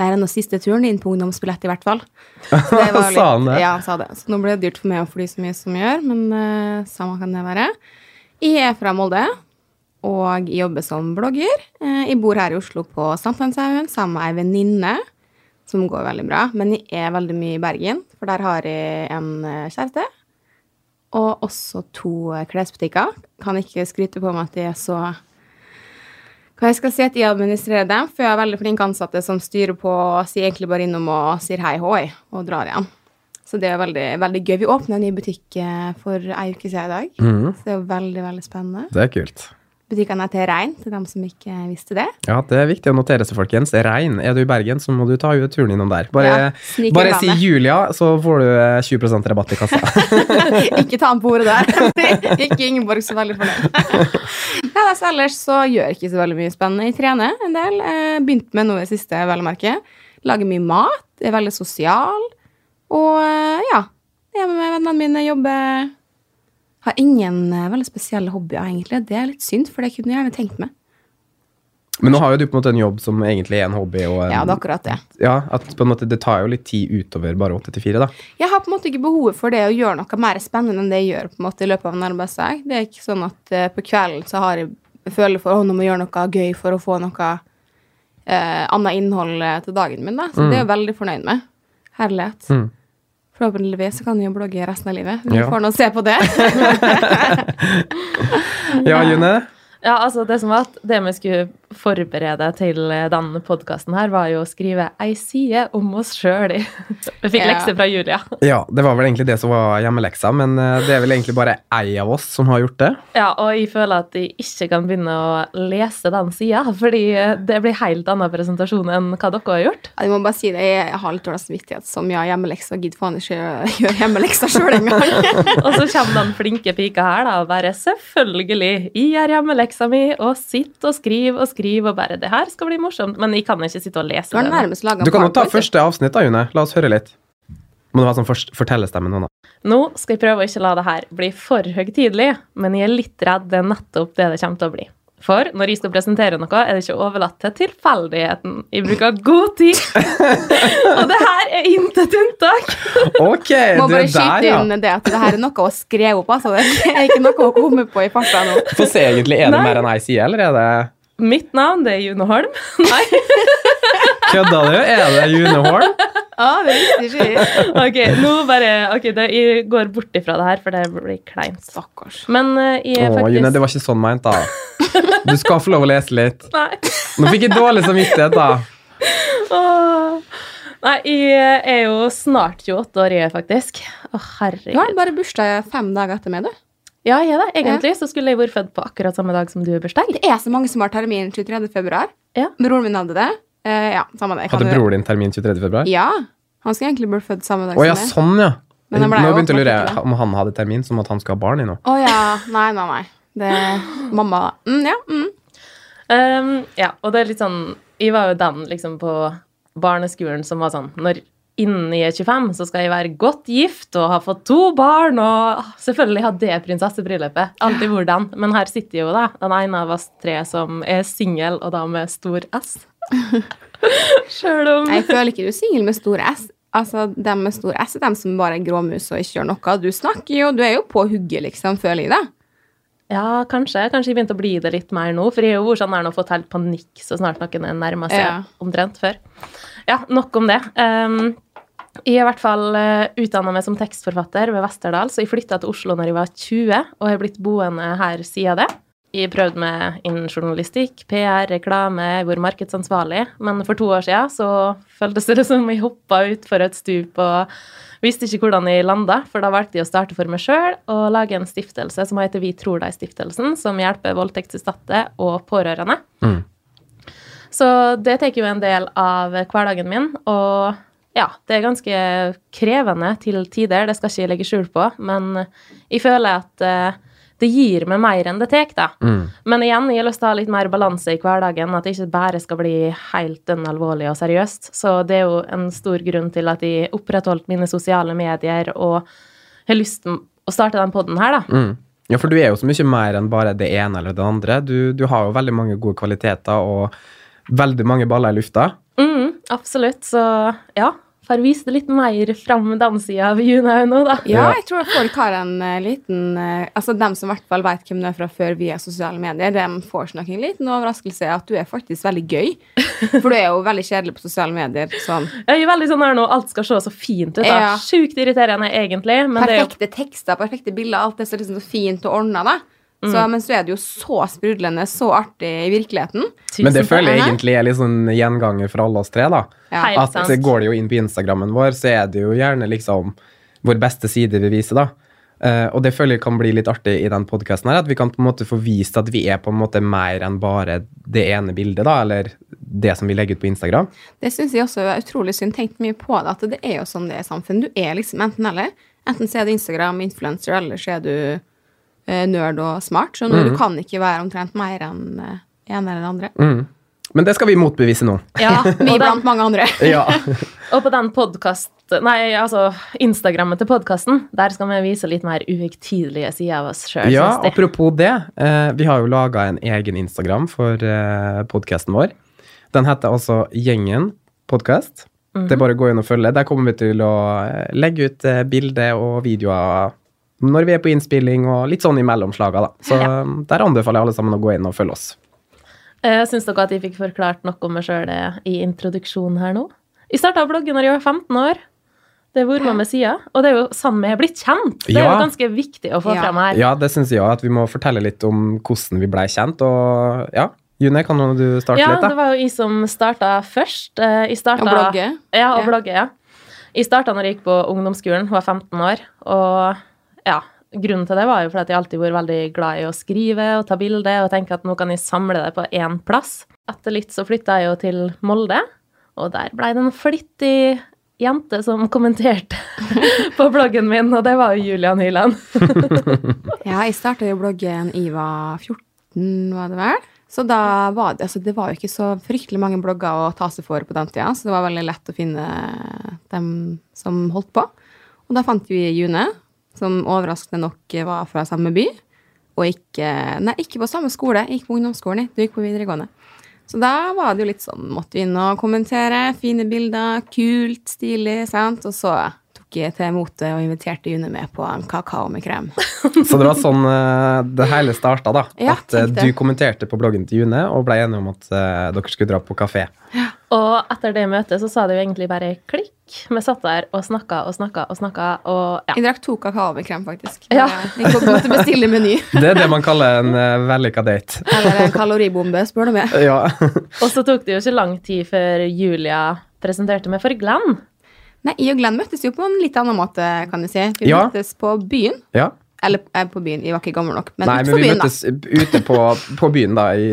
Speaker 1: det er den siste turen din på ungdomsbillett, i hvert fall. Så det var
Speaker 2: Sa han det?
Speaker 1: Ja, han sa det. Så nå ble det dyrt for meg å fly så mye som jeg gjør, men eh, samme kan det være. Jeg er fra Molde, og jeg jobber som blogger. Eh, jeg bor her i Oslo på Sankthanshaugen sammen med ei venninne som går veldig bra. Men jeg er veldig mye i Bergen, for der har jeg en eh, kjæreste. Og også to eh, klesbutikker. Kan ikke skryte på meg at jeg er så Hva jeg skal si at jeg administrerer dem, for jeg har veldig flinke ansatte som styrer på og sier egentlig bare innom og sier hei hoi, og drar igjen. Så det er veldig, veldig gøy. Vi åpna en ny butikk eh, for ei uke siden i dag. Så det er jo veldig, veldig spennende.
Speaker 2: Det er kult.
Speaker 1: Butikkene er til rein, til dem som ikke visste det.
Speaker 2: Ja, det er viktig å notere seg, folkens. Rein, er du i Bergen, så må du ta jo turen innom der. Bare,
Speaker 1: Ja, snik en
Speaker 2: bare si
Speaker 1: bane.
Speaker 2: Julia, så får du eh, 20 rabatt i kassa.
Speaker 1: ikke ta han på ordet der. ikke Ingeborg så veldig fornøyd. Nei, da, så ellers så gjør jeg ikke så veldig mye spennende. Jeg trener en del. eh, Begynt med noe i det siste, vel å merke. Lager mye mat. Er veldig sosial. Og eh, ja. Hjemme med vennene mine, jobber. Har ingen eh, veldig spesielle hobbyer, egentlig. Det er litt synd, for det kunne jeg gjerne tenkt meg.
Speaker 2: Men nå har jo du på en måte en jobb som egentlig er en hobby. Og en,
Speaker 1: Ja, det er akkurat det.
Speaker 2: ja, at på en måte det tar jo litt tid utover bare 8 til 4, da.
Speaker 1: Jeg har på en måte ikke behovet for det å gjøre noe mer spennende enn det jeg gjør på en måte i løpet av en arbeidsdag. Det er ikke sånn at eh, på kvelden så har jeg jeg føler for å nå må jeg gjøre noe gøy for å få noe eh, annet innhold eh, til dagen min. Da. Så det er jeg veldig fornøyd med. Herlighet.
Speaker 2: Mm.
Speaker 1: Forhåpentligvis så kan jeg jo blogge resten av livet. Vi
Speaker 2: Ja.
Speaker 1: får nå se på det.
Speaker 2: Ja, June?
Speaker 3: Ja, altså Det som var at det vi skulle forberede til eh, denne podkasten her, var jo å skrive ei side om oss sjøl. Vi fikk
Speaker 1: Ja.
Speaker 3: lekser fra Julia.
Speaker 2: Ja, det var vel egentlig det som var hjemmeleksa, men eh, det er vel egentlig bare ei av oss som har gjort det.
Speaker 3: Ja, og jeg føler at jeg ikke kan begynne å lese den sida, fordi eh, det blir helt annen presentasjon enn hva dere har gjort.
Speaker 1: Jeg må bare si det, jeg har litt dårlig samvittighet som jeg har hjemmelekser og gidder faen ikke gjøre hjemmelekser sjøl engang.
Speaker 3: Og så kommer den flinke pika her da, og bare selvfølgelig, jeg gjør hjemmeleksa mi, og sitter og skriver og skriver og bare det her skal bli morsomt, men jeg kan ikke sitte og
Speaker 1: Du
Speaker 3: lese
Speaker 1: har
Speaker 3: det. nå.
Speaker 1: nærmest laga
Speaker 2: Du kan jo ta første avsnitt, da, June. La oss høre litt. Må det være sånn forst- fortellerstemme nå, da.
Speaker 3: Nå skal jeg prøve å ikke la det her bli for høytidelig, men jeg er litt redd det er nettopp det det kommer til å bli. For når jeg skal presentere noe, er det ikke overlatt til tilfeldigheten. Jeg bruker god tid. og det her er intet unntak.
Speaker 2: Ok,
Speaker 1: Må bare
Speaker 2: det er der,
Speaker 1: skyte
Speaker 2: ja.
Speaker 1: inn det at det her er noe å skrive opp, altså. Det er ikke noe å komme på i farta nå.
Speaker 2: Få se egentlig, er det
Speaker 3: Nei.
Speaker 2: mer enn jeg sier, eller er det
Speaker 3: Mitt navn det er June Holm. Nei,
Speaker 2: Kødda du? Er det June Horn?
Speaker 1: Ja, det er riktig skitt.
Speaker 3: ok, nå bare, ok, det, jeg går bort ifra det her, for det blir kleint.
Speaker 1: Stakkars.
Speaker 3: Men eh, jeg
Speaker 2: Å,
Speaker 3: er faktisk...
Speaker 2: June, det var ikke sånn meint, da. Du skal få lov å lese litt.
Speaker 3: Nei.
Speaker 2: Nå fikk jeg dårlig samvittighet, da.
Speaker 3: Åh. Nei, jeg er jo snart 28 år, jeg, faktisk. Å,
Speaker 1: Du har
Speaker 3: herregud.
Speaker 1: bare bursdag fem dager etter meg, du.
Speaker 3: Ja, jeg er det. Egentlig så skulle jeg vært født på akkurat samme dag som du er bursdag.
Speaker 1: Det er så mange som har termin 23. februar.
Speaker 3: Ja.
Speaker 1: Broren min hadde det. Eh, ja, samme det. Jeg kan
Speaker 2: Hadde
Speaker 1: jo-
Speaker 2: broren din termin 23. februar?
Speaker 1: Ja. Han skulle egentlig blitt født samme dag
Speaker 2: Å ja,
Speaker 1: som meg.
Speaker 2: sånn, ja.
Speaker 1: Men han ble
Speaker 2: Nå
Speaker 1: jo
Speaker 2: begynte jeg å lure
Speaker 1: automatisk, da.
Speaker 2: om han hadde termin, som at han skal ha barn i nå.
Speaker 1: Å ja. Nei, nei, nei. Det Mamma mm, Ja. Mm.
Speaker 3: Um, ja, og det er litt sånn Jeg var jo den liksom på barneskolen som var sånn Når innen jeg er 25, så skal jeg være godt gift og ha fått to barn og ah, Selvfølgelig hadde jeg prinsessebryllupet. Alltid hvordan. Men her sitter jo da den ene av oss tre som er singel, og da med stor S. Sjøl om
Speaker 1: Jeg føler ikke du er singel med stor S. Altså, Dem med stor S er dem som bare er gråmus og ikke gjør noe. Du snakker jo, du er jo på hugget, liksom, føler jeg det.
Speaker 3: Ja, kanskje. Kanskje jeg begynte å bli det litt mer nå. For jeg er jo hvor sånn her nå fått helt panikk så snart noen er nærmer seg
Speaker 1: Ja.
Speaker 3: omtrent før. Ja, nok om det. Um, jeg er i hvert fall uh, utdanna meg som tekstforfatter ved Vesterdal, så jeg flytta til Oslo når jeg var 20, og har blitt boende her siden det. Jeg prøvde meg innen journalistikk, PR, reklame, jeg har vært markedsansvarlig. Men for to år siden så føltes det som jeg hoppa utfor et stup og visste ikke hvordan jeg landa, for da valgte jeg å starte for meg sjøl og lage en stiftelse som heter Vi tror deg-stiftelsen, som hjelper voldtektsutsatte og pårørende.
Speaker 2: Mm.
Speaker 3: Så det tar jo en del av hverdagen min, og ja, det er ganske krevende til tider, det skal ikke jeg legge skjul på, men jeg føler at eh, det gir meg mer enn det tar, da.
Speaker 2: Mm.
Speaker 3: Men igjen, jeg har lyst til å ha litt mer balanse i hverdagen, at det ikke bare skal bli helt dønn alvorlig og seriøst. Så det er jo en stor grunn til at jeg opprettholdt mine sosiale medier og har lyst til å starte den podden her, da.
Speaker 2: Mm. Ja, for du er jo så mye mer enn bare det ene eller det andre. Du, du har jo veldig mange gode kvaliteter og veldig mange baller i lufta.
Speaker 3: Mm, absolutt. Så ja, får vise det litt mer fram med den sida av Junaug nå, da.
Speaker 1: Ja,
Speaker 2: Ja.
Speaker 1: jeg tror at folk har en eh, liten eh, Altså, dem som i hvert fall vet hvem du er fra før via sosiale medier, dem får seg nok en liten overraskelse at du er faktisk veldig gøy. For du er jo veldig kjedelig på sosiale medier. Sånn
Speaker 3: Jeg er veldig sånn her nå, alt skal se så fint ut. da.
Speaker 1: Ja.
Speaker 3: Sjukt irriterende, egentlig, men det er jo
Speaker 1: perfekte tekster, perfekte bilder, alt er så liksom så fint og ordna, da. Så,
Speaker 3: Mm.
Speaker 1: Men så er det jo så sprudlende, så artig i virkeligheten.
Speaker 3: tusen
Speaker 2: Men det
Speaker 3: takk.
Speaker 2: føler jeg
Speaker 1: Hæ?
Speaker 2: egentlig er litt sånn gjenganger for alle oss tre, da.
Speaker 1: Ja.
Speaker 3: Helt
Speaker 2: At
Speaker 3: sant.
Speaker 2: det går det jo inn på Instagrammen vår, så er det jo gjerne liksom vår beste side vi viser, da. Eh, og det føler jeg kan bli litt artig i den podkasten her, at vi kan på en måte få vist at vi er på en måte mer enn bare det ene bildet, da, eller det som vi legger ut på Instagram.
Speaker 1: Det syns jeg også er utrolig synd. Tenkt mye på det, at det er jo sånn det er i samfunnet. Du er liksom enten-eller. Enten så er du Instagram, influencer, eller så er du eh, nerd og smart. Så du kan ikke være omtrent mer enn eh, en eller andre.
Speaker 2: Mm. Men det skal vi motbevise nå.
Speaker 3: Ja,
Speaker 1: Vi
Speaker 3: og den
Speaker 1: blant mange andre.
Speaker 2: Ja.
Speaker 3: Og på den podcast, nei, altså Instagrammet til podkasten, der skal vi vise litt mer uhøytidelige sider av oss sjøl.
Speaker 2: ja, apropos det. eh, vi har jo laga en egen Instagram for eh, podkasten vår. Den heter altså Gjengen podkast. Det er bare å gå inn og følge. Der kommer vi til å eh, legge ut eh, bilder og videoer når vi er på innspilling og litt sånn imellom slaga, da. Så eh, der anbefaler jeg alle sammen å gå inn og følge oss.
Speaker 3: Syns Eh, dere at jeg fikk forklart noe om meg sjøl i introduksjonen her nå? Jeg starta bloggen da jeg var 15 år. Det har vært med meg siden. Og det er jo sånn vi har blitt kjent. Det er jo
Speaker 2: Ja.
Speaker 3: ganske viktig å få
Speaker 1: Ja.
Speaker 3: fram her.
Speaker 2: Ja, det syns jeg òg, at vi må fortelle litt om hvordan vi blei kjent, og ja. June, kan du starte
Speaker 3: Ja,
Speaker 2: litt, da?
Speaker 3: det var jo jeg som starta først. Eh, Jeg starta,
Speaker 1: Og blogge.
Speaker 3: Ja, og
Speaker 1: Ja.
Speaker 3: blogge, ja. Jeg starta når jeg gikk på ungdomsskolen, var 15 år. Og ja, grunnen til det var jo fordi at jeg alltid vært veldig glad i å skrive og ta bilder og tenke at nå kan jeg samle det på én plass. Etter litt så flytta jeg jo til Molde, og der blei det en flittig jente som kommenterte på bloggen min, og det var jo Julian Hyland.
Speaker 1: Ja, jeg starta jo bloggen i var 14, var det vel? Så da var det, altså det var jo ikke så fryktelig mange blogger å ta seg for på den tida, så det var veldig lett å finne dem som holdt på. Og da fant vi June, som overraskende nok var fra samme by. og ikke Nei, ikke på samme skole. Jeg gikk på ungdomsskolen, jeg. du gikk på videregående. Så da var det jo litt sånn, måtte vi inn og kommentere. Fine bilder, kult, stilig, sant. Og så tok jeg til motet og inviterte June med på en kakao med krem.
Speaker 2: Så det var sånn eh, det hele starta, da.
Speaker 1: Ja,
Speaker 2: at eh,
Speaker 1: tenk det.
Speaker 2: du kommenterte på bloggen til June og ble enige om at eh, dere skulle dra på kafé.
Speaker 3: Og etter det møtet så sa det jo egentlig bare klikk. Vi satt der og snakka og snakka og snakka, og ja.
Speaker 1: Jeg drakk to kakao med krem, faktisk.
Speaker 3: Ja.
Speaker 1: Jeg måtte bestille meny.
Speaker 2: Det er det man kaller en uh, vellykka date.
Speaker 1: Eller en kaloribombe, spør du meg.
Speaker 2: Ja.
Speaker 3: Og så tok det jo ikke lang tid før Julia presenterte meg for Glenn.
Speaker 1: Nei, jeg og Glenn møttes jo på en litt annen måte, kan du si. Vi
Speaker 2: Ja.
Speaker 1: møttes på byen.
Speaker 2: ja.
Speaker 1: Eller eh, på byen, jeg var ikke gammel nok. Men
Speaker 2: Nei,
Speaker 1: ut
Speaker 2: men
Speaker 1: på
Speaker 2: vi
Speaker 1: byen,
Speaker 2: møttes ute på, på byen, da, i,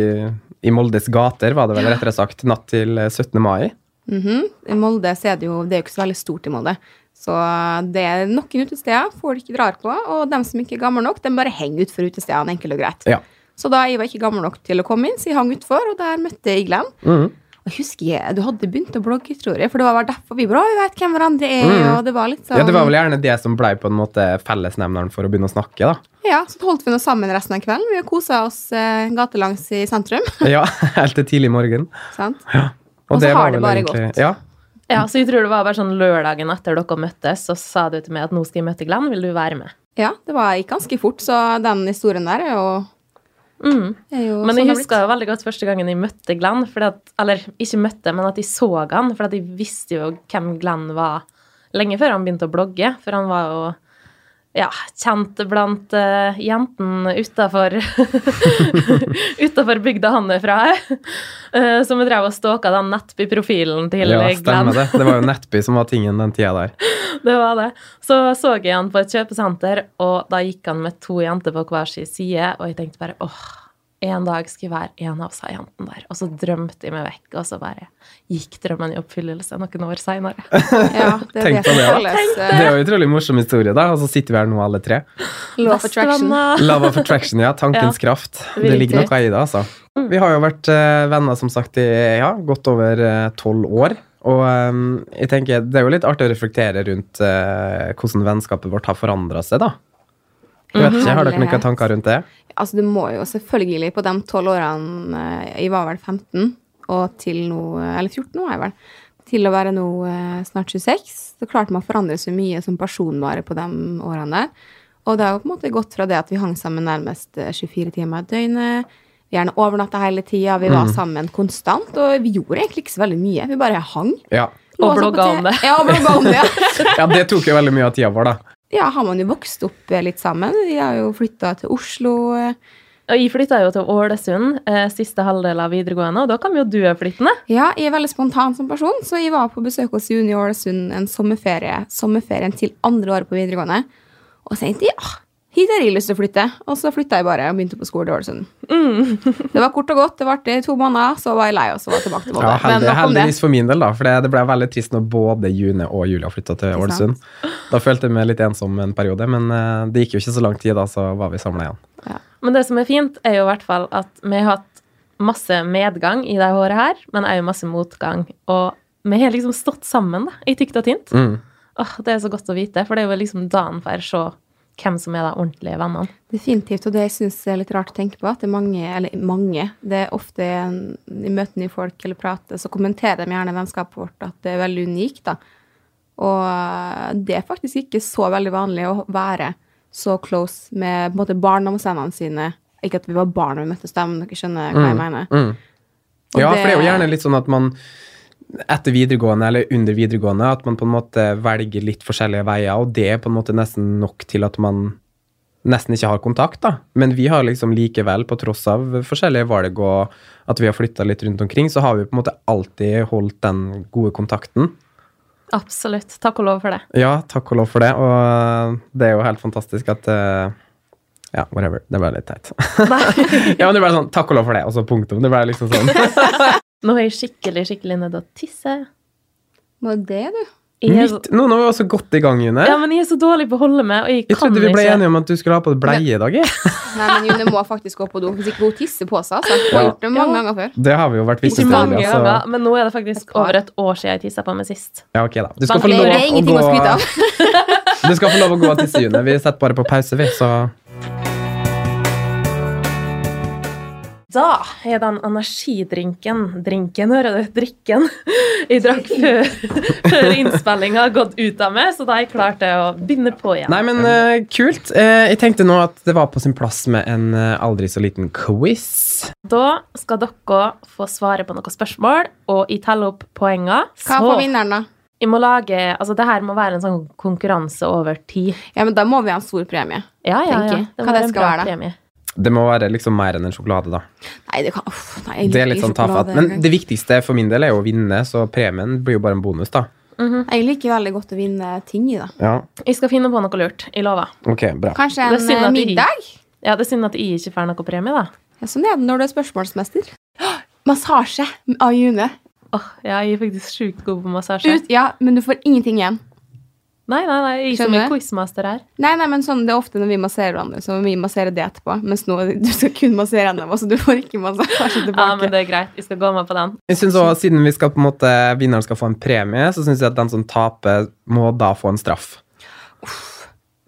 Speaker 2: i Moldes gater, var det vel rettere sagt, natt til eh, 17. mai.
Speaker 1: da. Mhm. I Molde så er det jo det er jo ikke så veldig stort i Molde. Så eh, det er noen utesteder folk ikke drar på, og dem som ikke er gamle nok, de bare henger utfor utestedene, enkelt og greit.
Speaker 2: Ja.
Speaker 1: Så da jeg var ikke gammel nok til å komme inn, så jeg hang utfor, og der møtte jeg Glenn.
Speaker 2: Mhm.
Speaker 1: Og husker jeg, du hadde begynt å blogge, tror jeg, for det var vel derfor vi bare «Å, vi vet hvem hverandre er,
Speaker 2: Mhm.
Speaker 1: og det var litt sånn
Speaker 2: Ja, Det var vel gjerne det som ble på en måte fellesnevneren for å begynne å snakke, da.
Speaker 1: sånn, Ja, så holdt vi nå sammen resten av kvelden. Vi kosa oss eh, gatelangs i sentrum.
Speaker 2: Ja, Helt til tidlig morgen.
Speaker 1: Sant?
Speaker 2: Og,
Speaker 1: Og så
Speaker 2: var
Speaker 1: har det
Speaker 2: vel
Speaker 1: bare gått.
Speaker 2: Ja,
Speaker 3: Ja, Så jeg tror det var bare sånn lørdagen etter dere møttes, så sa du til meg at nå skal jeg møte Glenn, vil du være med?
Speaker 1: Ja, det var, gikk ganske fort, så den historien der er jo,
Speaker 3: Mm.
Speaker 1: er jo
Speaker 3: Men
Speaker 1: sånn
Speaker 3: jeg
Speaker 1: det har
Speaker 3: husker jo veldig godt første gangen jeg møtte Glenn. Fordi at, eller ikke møtte, men at jeg så han. For at jeg visste jo hvem Glenn var lenge før han begynte å blogge. For han var jo ja, kjent blant eh, jentene utafor Utafor bygda han er fra. eh, så vi drev og stalka den nettby-profilen til
Speaker 2: ja,
Speaker 3: Glenn.
Speaker 2: stemmer det. Det var jo Nettby som var tingen den tida der.
Speaker 3: Det var det. Så så jeg han på et kjøpesenter, og da gikk han med to jenter på hver sin side, og jeg tenkte bare åh, en dag skal jeg være en av seg jentene der. Og så drømte jeg meg vekk, og så bare gikk drømmen i oppfyllelse noen år seinere.
Speaker 1: blitt. Ja, det er
Speaker 2: Tenk
Speaker 1: det
Speaker 2: på
Speaker 1: som
Speaker 2: det, ja.
Speaker 1: kalles
Speaker 2: Det
Speaker 1: eh,
Speaker 2: er jo en utrolig morsom historie, da. Og så sitter vi her nå alle tre.
Speaker 1: law of attraction.
Speaker 2: Love of attraction, ja. Tankens kraft. Det ligger noe i det, altså. Vi har jo vært eh, venner, som sagt, i ja, godt over eh, tolv år. Og eh, jeg tenker, det er jo litt artig å reflektere rundt eh, hvordan vennskapet vårt har forandra seg, da. Jeg vet ikke, Har dere noen
Speaker 1: Herlighet.
Speaker 2: tanker rundt det?
Speaker 1: Altså, du må jo selvfølgelig på de tolv årene eh, Jeg var vel 15, og til nå eh, Eller 14 nå, er jeg vel. Til å være nå eh, snart 26. Så klarte man å forandre så mye som person bare på de årene der. Og det har jo på en måte gått fra det at vi hang sammen nærmest eh, 24 timer i døgnet, vi gjerne overnatta hele tida, vi var sammen konstant, og vi gjorde egentlig ikke så veldig mye. Vi bare hang.
Speaker 2: Ja.
Speaker 3: Og
Speaker 1: Lå oss opp
Speaker 3: blogga
Speaker 1: på te-
Speaker 3: om det.
Speaker 1: Ja, og blogga om det. ja.
Speaker 2: ja, det tok jo veldig mye av tida vår, da.
Speaker 1: ja, har man jo vokst opp eh, litt sammen. Vi har jo flytta til Oslo. eh,
Speaker 3: Og jeg flytta jo til Ålesund eh, siste halvdel av videregående, og da kom jo du flyttende.
Speaker 1: Ja, jeg er veldig spontan som person, så jeg var på besøk hos Juni i Ålesund en sommerferie, sommerferien til andre året på videregående. Og så tenkte jeg ja, hit har jeg lyst til å flytte. Og så flytta jeg bare og begynte på skole i Ålesund. det var kort og godt, det varte i to måneder, så var jeg lei og så var jeg tilbake til Molde.
Speaker 2: Mm. Ja, heldig,
Speaker 1: nok om det.
Speaker 2: heldigvis for min del, da. For det, det ble veldig trist når både June og Julia flytta til
Speaker 1: Ikke
Speaker 2: Ålesund.
Speaker 1: sant?
Speaker 2: Da følte jeg meg litt ensom en periode, men eh, det gikk jo ikke så lang tid da, så var vi samla igjen.
Speaker 3: Men det som er fint, er jo i hvert fall at vi har hatt masse medgang i det håret her, men òg masse motgang. Og vi har liksom stått sammen da, i tykt og tynt.
Speaker 2: Mm.
Speaker 3: Åh, det er så godt å vite, for det er jo liksom da en får se hvem som er de ordentlige vennene.
Speaker 1: Definitivt, og det jeg synes er litt rart å tenke på, at det er mange, eller mange, det er ofte en- i møter nye folk eller prater, så kommenterer de gjerne vennskapet vårt at det er veldig unikt, da. Og eh, det er faktisk ikke så veldig vanlig å være så close med på en måte barndomsvennene sine. Ikke at vi var barn da vi møttes dem, dere skjønner hva jeg mener.
Speaker 2: Mm.
Speaker 1: Og
Speaker 2: Ja,
Speaker 1: det-
Speaker 2: for det er jo gjerne litt sånn at man etter videregående eller under videregående, at man på en måte velger litt forskjellige veier, og det er på en måte nesten nok til at man nesten ikke har kontakt, da. Men vi har liksom likevel, på tross av forskjellige valg og at vi har flytta litt rundt omkring, så har vi på en måte alltid holdt den gode kontakten.
Speaker 3: Absolutt. Takk og lov for det.
Speaker 2: Ja, takk og lov for det, og det er jo helt fantastisk at eh, Ja, whatever. Det ble litt teit. ja, men det ble sånn takk og lov for det, og så punktum. Det ble liksom sånn.
Speaker 3: Nå er jeg skikkelig, skikkelig nødt til å tisse.
Speaker 1: Var det det, du?
Speaker 3: Jeg er så,
Speaker 2: Midt, nå, nå er vi også godt i gang, June.
Speaker 3: ja, men jeg er så dårlig på å holde med, og jeg
Speaker 2: jeg
Speaker 3: kan
Speaker 2: trodde vi ble
Speaker 3: ikke
Speaker 2: enige om at du skulle ha på deg bleie i dag. jeg.
Speaker 1: Nei, men June må faktisk gå på do, hvis ikke hun tisser på seg. Så hun har
Speaker 2: Ja.
Speaker 1: gjort det mange
Speaker 3: Ja.
Speaker 1: ganger før.
Speaker 2: Det har vi jo vært
Speaker 3: Ikke
Speaker 2: vitne til.
Speaker 3: mange
Speaker 2: ja, så- altså.
Speaker 3: ganger, men nå er det faktisk
Speaker 1: Et par.
Speaker 3: over et år siden jeg tissa på meg sist.
Speaker 2: Ja, ok, da. Du skal, få
Speaker 3: Men
Speaker 1: Det
Speaker 2: lov
Speaker 1: er
Speaker 2: å
Speaker 1: ingenting å skryte
Speaker 2: gå,
Speaker 1: av.
Speaker 2: du skal få lov å gå og tisse, June. Vi setter bare på pause, vi, så
Speaker 3: Da er den energidrinken Drinken, hører du? Drikken jeg drakk før, før innspillinga har gått ut av meg, så da har jeg klart det å begynne på igjen.
Speaker 2: Nei, men eh, kult. Eh, jeg tenkte nå at det var på sin plass med en eh, aldri så liten quiz.
Speaker 3: Da skal dere få svare på noen spørsmål, og jeg teller opp poengene.
Speaker 1: Hva får vinneren, da?
Speaker 3: jeg må lage Altså, det her må være en sånn konkurranse over tid.
Speaker 1: Ja, men da må vi ha en stor premie.
Speaker 3: Ja, ja,
Speaker 1: Tenker
Speaker 3: ja.
Speaker 1: jeg. Hva det skal være, da?
Speaker 3: premie.
Speaker 2: Det må være liksom mer enn en sjokolade, da.
Speaker 1: Nei, det kan uff, nei, jeg
Speaker 2: Det er
Speaker 1: liker
Speaker 2: litt sånn
Speaker 1: ikke sjokolade
Speaker 2: tafatt. Men
Speaker 1: engang.
Speaker 2: det viktigste for min del er jo å vinne, så premien blir jo bare en bonus, da.
Speaker 1: Jeg liker veldig godt å vinne ting i, da.
Speaker 2: Ja,
Speaker 3: Jeg skal finne på noe lurt. Jeg lover.
Speaker 2: ok, bra.
Speaker 1: Kanskje
Speaker 3: Det er
Speaker 1: en
Speaker 3: synd
Speaker 1: eh,
Speaker 3: at de-
Speaker 1: middag?
Speaker 3: Ja, det er synd at jeg ikke får noe premie, da.
Speaker 1: Ja, sånn er det når du er spørsmålsmester. Åh, Massasje av June.
Speaker 3: Åh, ja, jeg er faktisk sjukt god på massasje.
Speaker 1: Ut, ja, men du får ingenting igjen.
Speaker 3: Nei, nei, nei, jeg er som
Speaker 1: Skjønner
Speaker 3: en
Speaker 1: du?
Speaker 3: quizmaster her.
Speaker 1: Nei, nei, men sånn, Det er ofte når vi masserer hverandre, så vi masserer det etterpå. Mens nå du skal kun massere henne, så du får ikke massasje tilbake.
Speaker 3: Ja, men det er greit. Jeg skal gå med på den.
Speaker 2: Jeg synes også, Siden vi skal på en måte, vinneren skal få en premie, så syns jeg at den som taper, må da få en straff.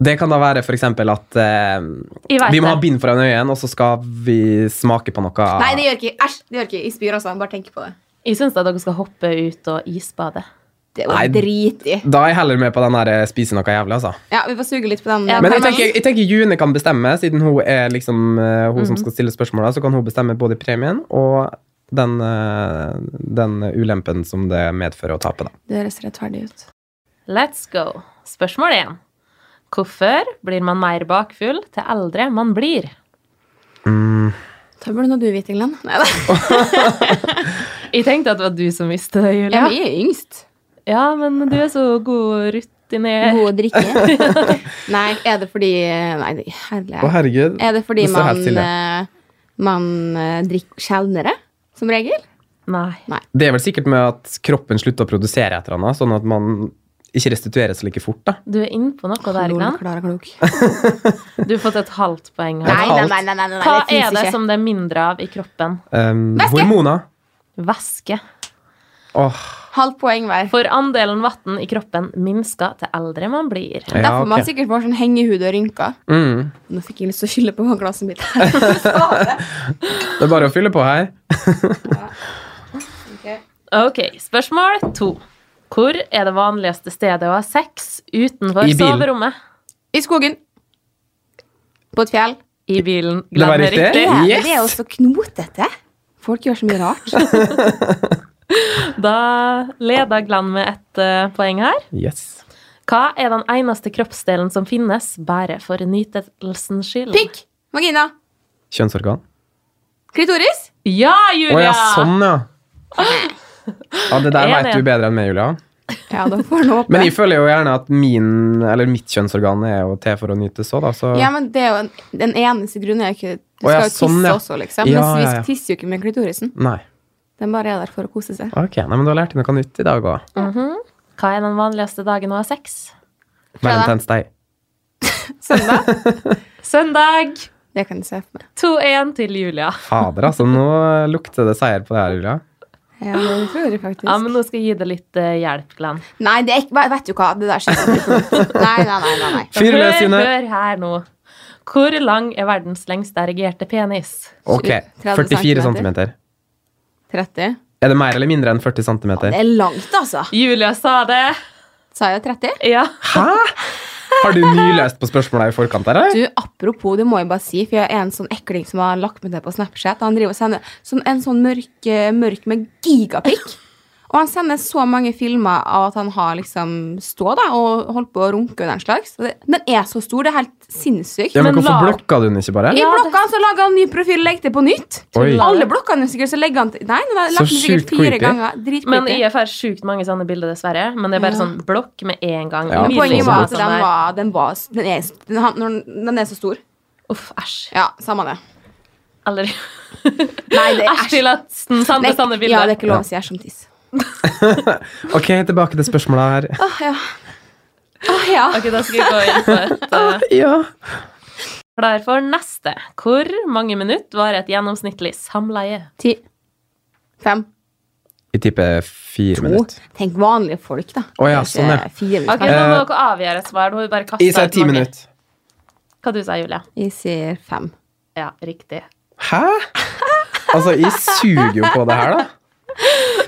Speaker 2: Det kan da være f.eks. at eh,
Speaker 3: Jeg vet
Speaker 2: vi må ha
Speaker 3: det.
Speaker 2: bind foran øynene, og så skal vi smake på noe
Speaker 1: Nei, det gjør ikke Æsj, det gjør ikke Jeg spyr, altså. Bare tenk på det.
Speaker 3: Jeg syns dere skal hoppe ut og isbade.
Speaker 1: Det var
Speaker 2: Nei.
Speaker 1: dritig.
Speaker 2: Da er jeg heller med på den der eh, spise noe jævlig, altså.
Speaker 1: Ja, vi får suge litt på den.
Speaker 3: Ja,
Speaker 1: eh,
Speaker 2: Men jeg
Speaker 1: karamellen.
Speaker 2: tenker, jeg tenker June kan bestemme, siden hun er liksom eh, hun som skal stille spørsmåla, så kan hun bestemme både premien og den, eh, den ulempen som det medfører å tape, da.
Speaker 1: Det høres rettferdig ut.
Speaker 3: Let's go. Spørsmål 1. Hvorfor blir man mer bakfull til eldre man blir?
Speaker 2: Mm.
Speaker 1: Da burde nå du vite, Glenn. Nei da.
Speaker 3: Jeg tenkte at det var du som visste det, Julia.
Speaker 1: Jeg er yngst.
Speaker 3: Ja, men du er så god rutinert.
Speaker 2: Eh.
Speaker 1: God å drikke. Nei, er det fordi Nei, det- herlig.
Speaker 2: Å, herregud.
Speaker 1: Er det fordi
Speaker 2: Det står helt
Speaker 1: man,
Speaker 2: stille.
Speaker 1: eh, man eh, drikker sjeldnere, som regel?
Speaker 3: Nei.
Speaker 2: Det er vel sikkert med at kroppen slutter å produsere et eller annet, sånn at man ikke restitueres like fort, da.
Speaker 3: Du er inne på noe der, Glenn.
Speaker 1: Klara klok.
Speaker 3: Du har fått et halvt poeng
Speaker 1: Nei,
Speaker 3: her.
Speaker 1: nei, nei, nei, nei, nei,
Speaker 3: Hva
Speaker 1: det
Speaker 3: er
Speaker 1: fins
Speaker 3: det
Speaker 1: ikke.
Speaker 3: som det er mindre av i kroppen?
Speaker 2: Um,
Speaker 1: Væske!
Speaker 2: hormoner.
Speaker 3: Væske.
Speaker 2: Åh,
Speaker 1: Halvt poeng hver.
Speaker 3: For andelen vann i kroppen minsker til eldre man blir.
Speaker 2: ja,
Speaker 1: Derfor man
Speaker 2: ok.
Speaker 1: sikkert får sånn hengehud og rynker.
Speaker 2: mm.
Speaker 1: Nå fikk jeg lyst til å skylle på glasset mitt.
Speaker 2: Det er bare å fylle på her.
Speaker 3: Ok, spørsmål to. Hvor er det vanligste stedet å ha sex utenfor
Speaker 2: I bilen.
Speaker 3: soverommet?
Speaker 1: I skogen. På et fjell.
Speaker 3: I bilen.
Speaker 2: Det var
Speaker 3: Glemmer
Speaker 2: riktig.
Speaker 1: Det,
Speaker 2: Yes!
Speaker 1: det er jo så knotete. Folk gjør så mye rart.
Speaker 3: Da leder Glenn med ett eh, poeng her.
Speaker 2: Yes.
Speaker 3: Hva er den eneste kroppsdelen som finnes bare for nytelsens skyld?
Speaker 1: Pikk, vagina,
Speaker 2: Kjønnsorgan.
Speaker 1: klitoris.
Speaker 3: Ja,
Speaker 2: Å
Speaker 3: Julia!
Speaker 2: ja, sånn, ja. Ja, Det der
Speaker 3: Enig.
Speaker 2: vet du bedre enn meg, Julia.
Speaker 1: Ja, da får du
Speaker 2: Men
Speaker 1: håpe.
Speaker 2: jeg føler jo gjerne at min, eller mitt kjønnsorgan er jo til for å nytes òg, da. Så
Speaker 1: Ja, men det er jo en, den eneste grunnen er jo ikke Du
Speaker 2: Å ja,
Speaker 1: skal jo
Speaker 2: sånn,
Speaker 1: tisse
Speaker 2: ja.
Speaker 1: også, liksom.
Speaker 2: Ja,
Speaker 1: Mens
Speaker 2: ja, ja.
Speaker 1: vi tisser jo ikke med klitorisen.
Speaker 2: nei.
Speaker 1: Den bare er der for å kose seg.
Speaker 2: Ok, nei, men du har lært noe nytt i dag òg.
Speaker 3: Mhm. Hva er den vanligste dagen å ha sex?
Speaker 1: Fredag.
Speaker 2: Valentinsdag.
Speaker 1: Søndag.
Speaker 3: Søndag!
Speaker 1: Sånn Det kan jeg se for meg.
Speaker 3: 2-1 til Julia.
Speaker 2: Fader, altså. Nå lukter det seier på det her, Julia.
Speaker 1: Ja, det tror jeg faktisk.
Speaker 3: Ja, men nå skal jeg gi deg litt eh, hjelp, Glenn.
Speaker 1: Nei, det er ikke, vet- vet du hva, det der skjer ikke. Nei, nei, nei, nei, nei.
Speaker 3: Så
Speaker 2: Fyr løs,
Speaker 3: hør-
Speaker 2: June.
Speaker 3: Hør her nå. Hvor lang er verdens lengste erigerte penis?
Speaker 2: Ok,
Speaker 1: 30
Speaker 2: 44
Speaker 1: centimeter.
Speaker 2: centimeter.
Speaker 1: 30?
Speaker 2: Er det mer eller mindre enn 40
Speaker 1: Det
Speaker 2: centimeter?
Speaker 1: er langt, altså.
Speaker 3: Julia sa det.
Speaker 1: Sa jeg 30?
Speaker 3: Ja.
Speaker 2: Hæ? Har du nyløst på spørsmåla i forkant her, eller?
Speaker 1: Du, apropos, det må jeg bare si, for jeg er en sånn ekling som har lagt med det på Snapchat. Han driver og sender sånn, en sånn mørk, eh, mørk med gigapikk. Og han sender så mange filmer av at han har liksom stå da, og holdt på å runke under en slags. Og det, den er så stor, det er helt sinnssykt.
Speaker 2: Ja, men
Speaker 3: men
Speaker 2: hvorfor
Speaker 3: lar-
Speaker 2: blokka du den ikke bare?
Speaker 1: I
Speaker 3: Ja, det-
Speaker 1: blokka så laga han ny profil og legger det på nytt.
Speaker 2: Oi.
Speaker 1: Alle blokkene sikkert, så legger han til Nei, nei, nei,
Speaker 2: Så
Speaker 1: lagt den sikkert
Speaker 2: sjukt
Speaker 1: fire
Speaker 2: creepy.
Speaker 1: ganger. Dritcreepy.
Speaker 3: Men jeg får sjukt mange sånne bilder, dessverre. Men det er bare
Speaker 1: Ja.
Speaker 3: sånn blokk med en gang.
Speaker 2: Ja,
Speaker 3: Min
Speaker 1: Poenget
Speaker 2: Sånn
Speaker 1: var
Speaker 2: som
Speaker 1: at
Speaker 3: sånn
Speaker 1: den,
Speaker 3: der.
Speaker 1: var, den, var, den, er, den, har- når den, den er så stor.
Speaker 3: Uff, æsj.
Speaker 1: Ja, samme det.
Speaker 3: Aldri.
Speaker 1: Nei, det er
Speaker 3: Æsj til at sånne sanne,
Speaker 1: Det er-
Speaker 3: sanne
Speaker 1: Ja, det
Speaker 3: bilder.
Speaker 1: er ikke lov å si æsj som tiss.
Speaker 2: Ok, tilbake til spørsmåla her.
Speaker 1: Åh, ja. Åh, ja.
Speaker 3: Ok, da skal jeg gå inn på et eh,
Speaker 2: Ja.
Speaker 3: Klar for neste. Hvor mange minutter var et gjennomsnittlig samleie?
Speaker 1: Ti. Fem.
Speaker 2: Vi tipper fire
Speaker 1: To.
Speaker 2: minutter.
Speaker 1: Tenk vanlige folk, da.
Speaker 2: Å ja,
Speaker 1: Ikke
Speaker 2: sånn, ja.
Speaker 1: Fire minutter.
Speaker 3: Ok, Nå må
Speaker 2: Eh,
Speaker 3: dere avgjøre et svar. Du har jo bare kastet
Speaker 2: Jeg sier
Speaker 3: ut
Speaker 2: ti
Speaker 3: mange.
Speaker 2: minutter.
Speaker 3: Hva du sa Julia?
Speaker 1: Jeg sier fem.
Speaker 3: Ja, riktig.
Speaker 2: Hæ? Altså, jeg suger jo på det her, da.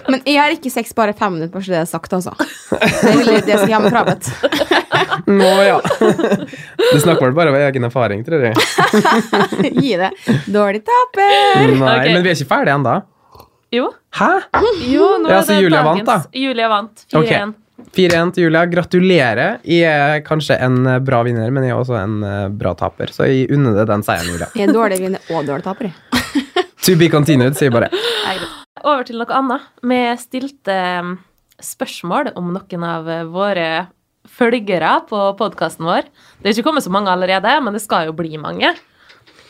Speaker 1: Men jeg har ikke sex bare fem minutter, bare så det er sagt, altså. Det er litt det som gjør meg travet.
Speaker 2: Nå, ja. Det snakker vel bare om egen erfaring, tror jeg.
Speaker 1: Gi det. Dårlig taper.
Speaker 2: Nei,
Speaker 3: Ok.
Speaker 2: men vi er ikke ferdige ennå.
Speaker 3: Jo.
Speaker 2: Hæ?
Speaker 3: jo nå
Speaker 2: Ja,
Speaker 3: er
Speaker 2: så
Speaker 3: det
Speaker 2: Julia
Speaker 3: dagens.
Speaker 2: vant,
Speaker 3: Julia vant. 4-1.
Speaker 2: Ok. 4-1 til Julia. Gratulerer. Jeg er kanskje en eh, bra vinner, men jeg er også en eh, bra taper. Så jeg unner deg den seieren, Julia.
Speaker 1: Jeg er dårlig vinner og dårlig taper. jeg.
Speaker 2: To be continued, sier jeg bare.
Speaker 3: Over til noe annet. Vi stilte um, spørsmål om noen av uh, våre følgere på podkasten vår. Det er ikke kommet så mange allerede, men det skal jo bli mange.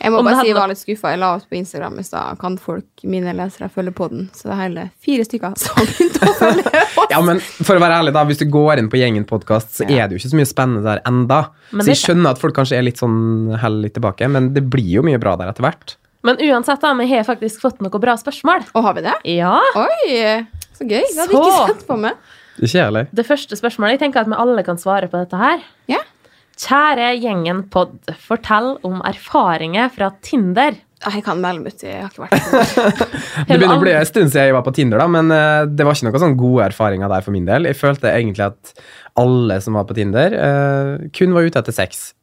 Speaker 1: Jeg må
Speaker 3: Om det
Speaker 1: bare si
Speaker 3: hadde-
Speaker 1: jeg var litt skuffa. Jeg la ut på Instagram i stad. Kan folk, mine lesere, følge på den? Så det er hele fire stykker som begynte å følge oss.
Speaker 2: Ja, men for å være ærlig da, Hvis du går inn på Gjengen podkast, så er det jo ikke så mye spennende der enda.
Speaker 3: Men
Speaker 2: Så jeg
Speaker 3: det-
Speaker 2: skjønner at folk kanskje er litt sånn heller litt tilbake, men det blir jo mye bra der etter hvert.
Speaker 3: Men uansett, da, vi har faktisk fått noen bra spørsmål.
Speaker 1: Og har vi det?
Speaker 3: Ja.
Speaker 1: Oi, så gøy. Det hadde jeg
Speaker 3: Så.
Speaker 1: ikke sett på meg.
Speaker 2: Ikke jeg heller.
Speaker 3: Det første spørsmålet Jeg tenker at vi alle kan svare på dette her.
Speaker 1: Ja.
Speaker 3: Kjære gjengen pod, fortell om erfaringer fra Tinder.
Speaker 1: Ah, Jeg kan melde meg ut. Jeg har ikke vært på det.
Speaker 2: Det begynner å bli
Speaker 3: andre-
Speaker 2: en stund siden jeg var på Tinder, da, men eh, det var ikke noen sånn gode erfaringer der for min del. Jeg følte egentlig at alle som var på Tinder, eh, kun var ute etter sex.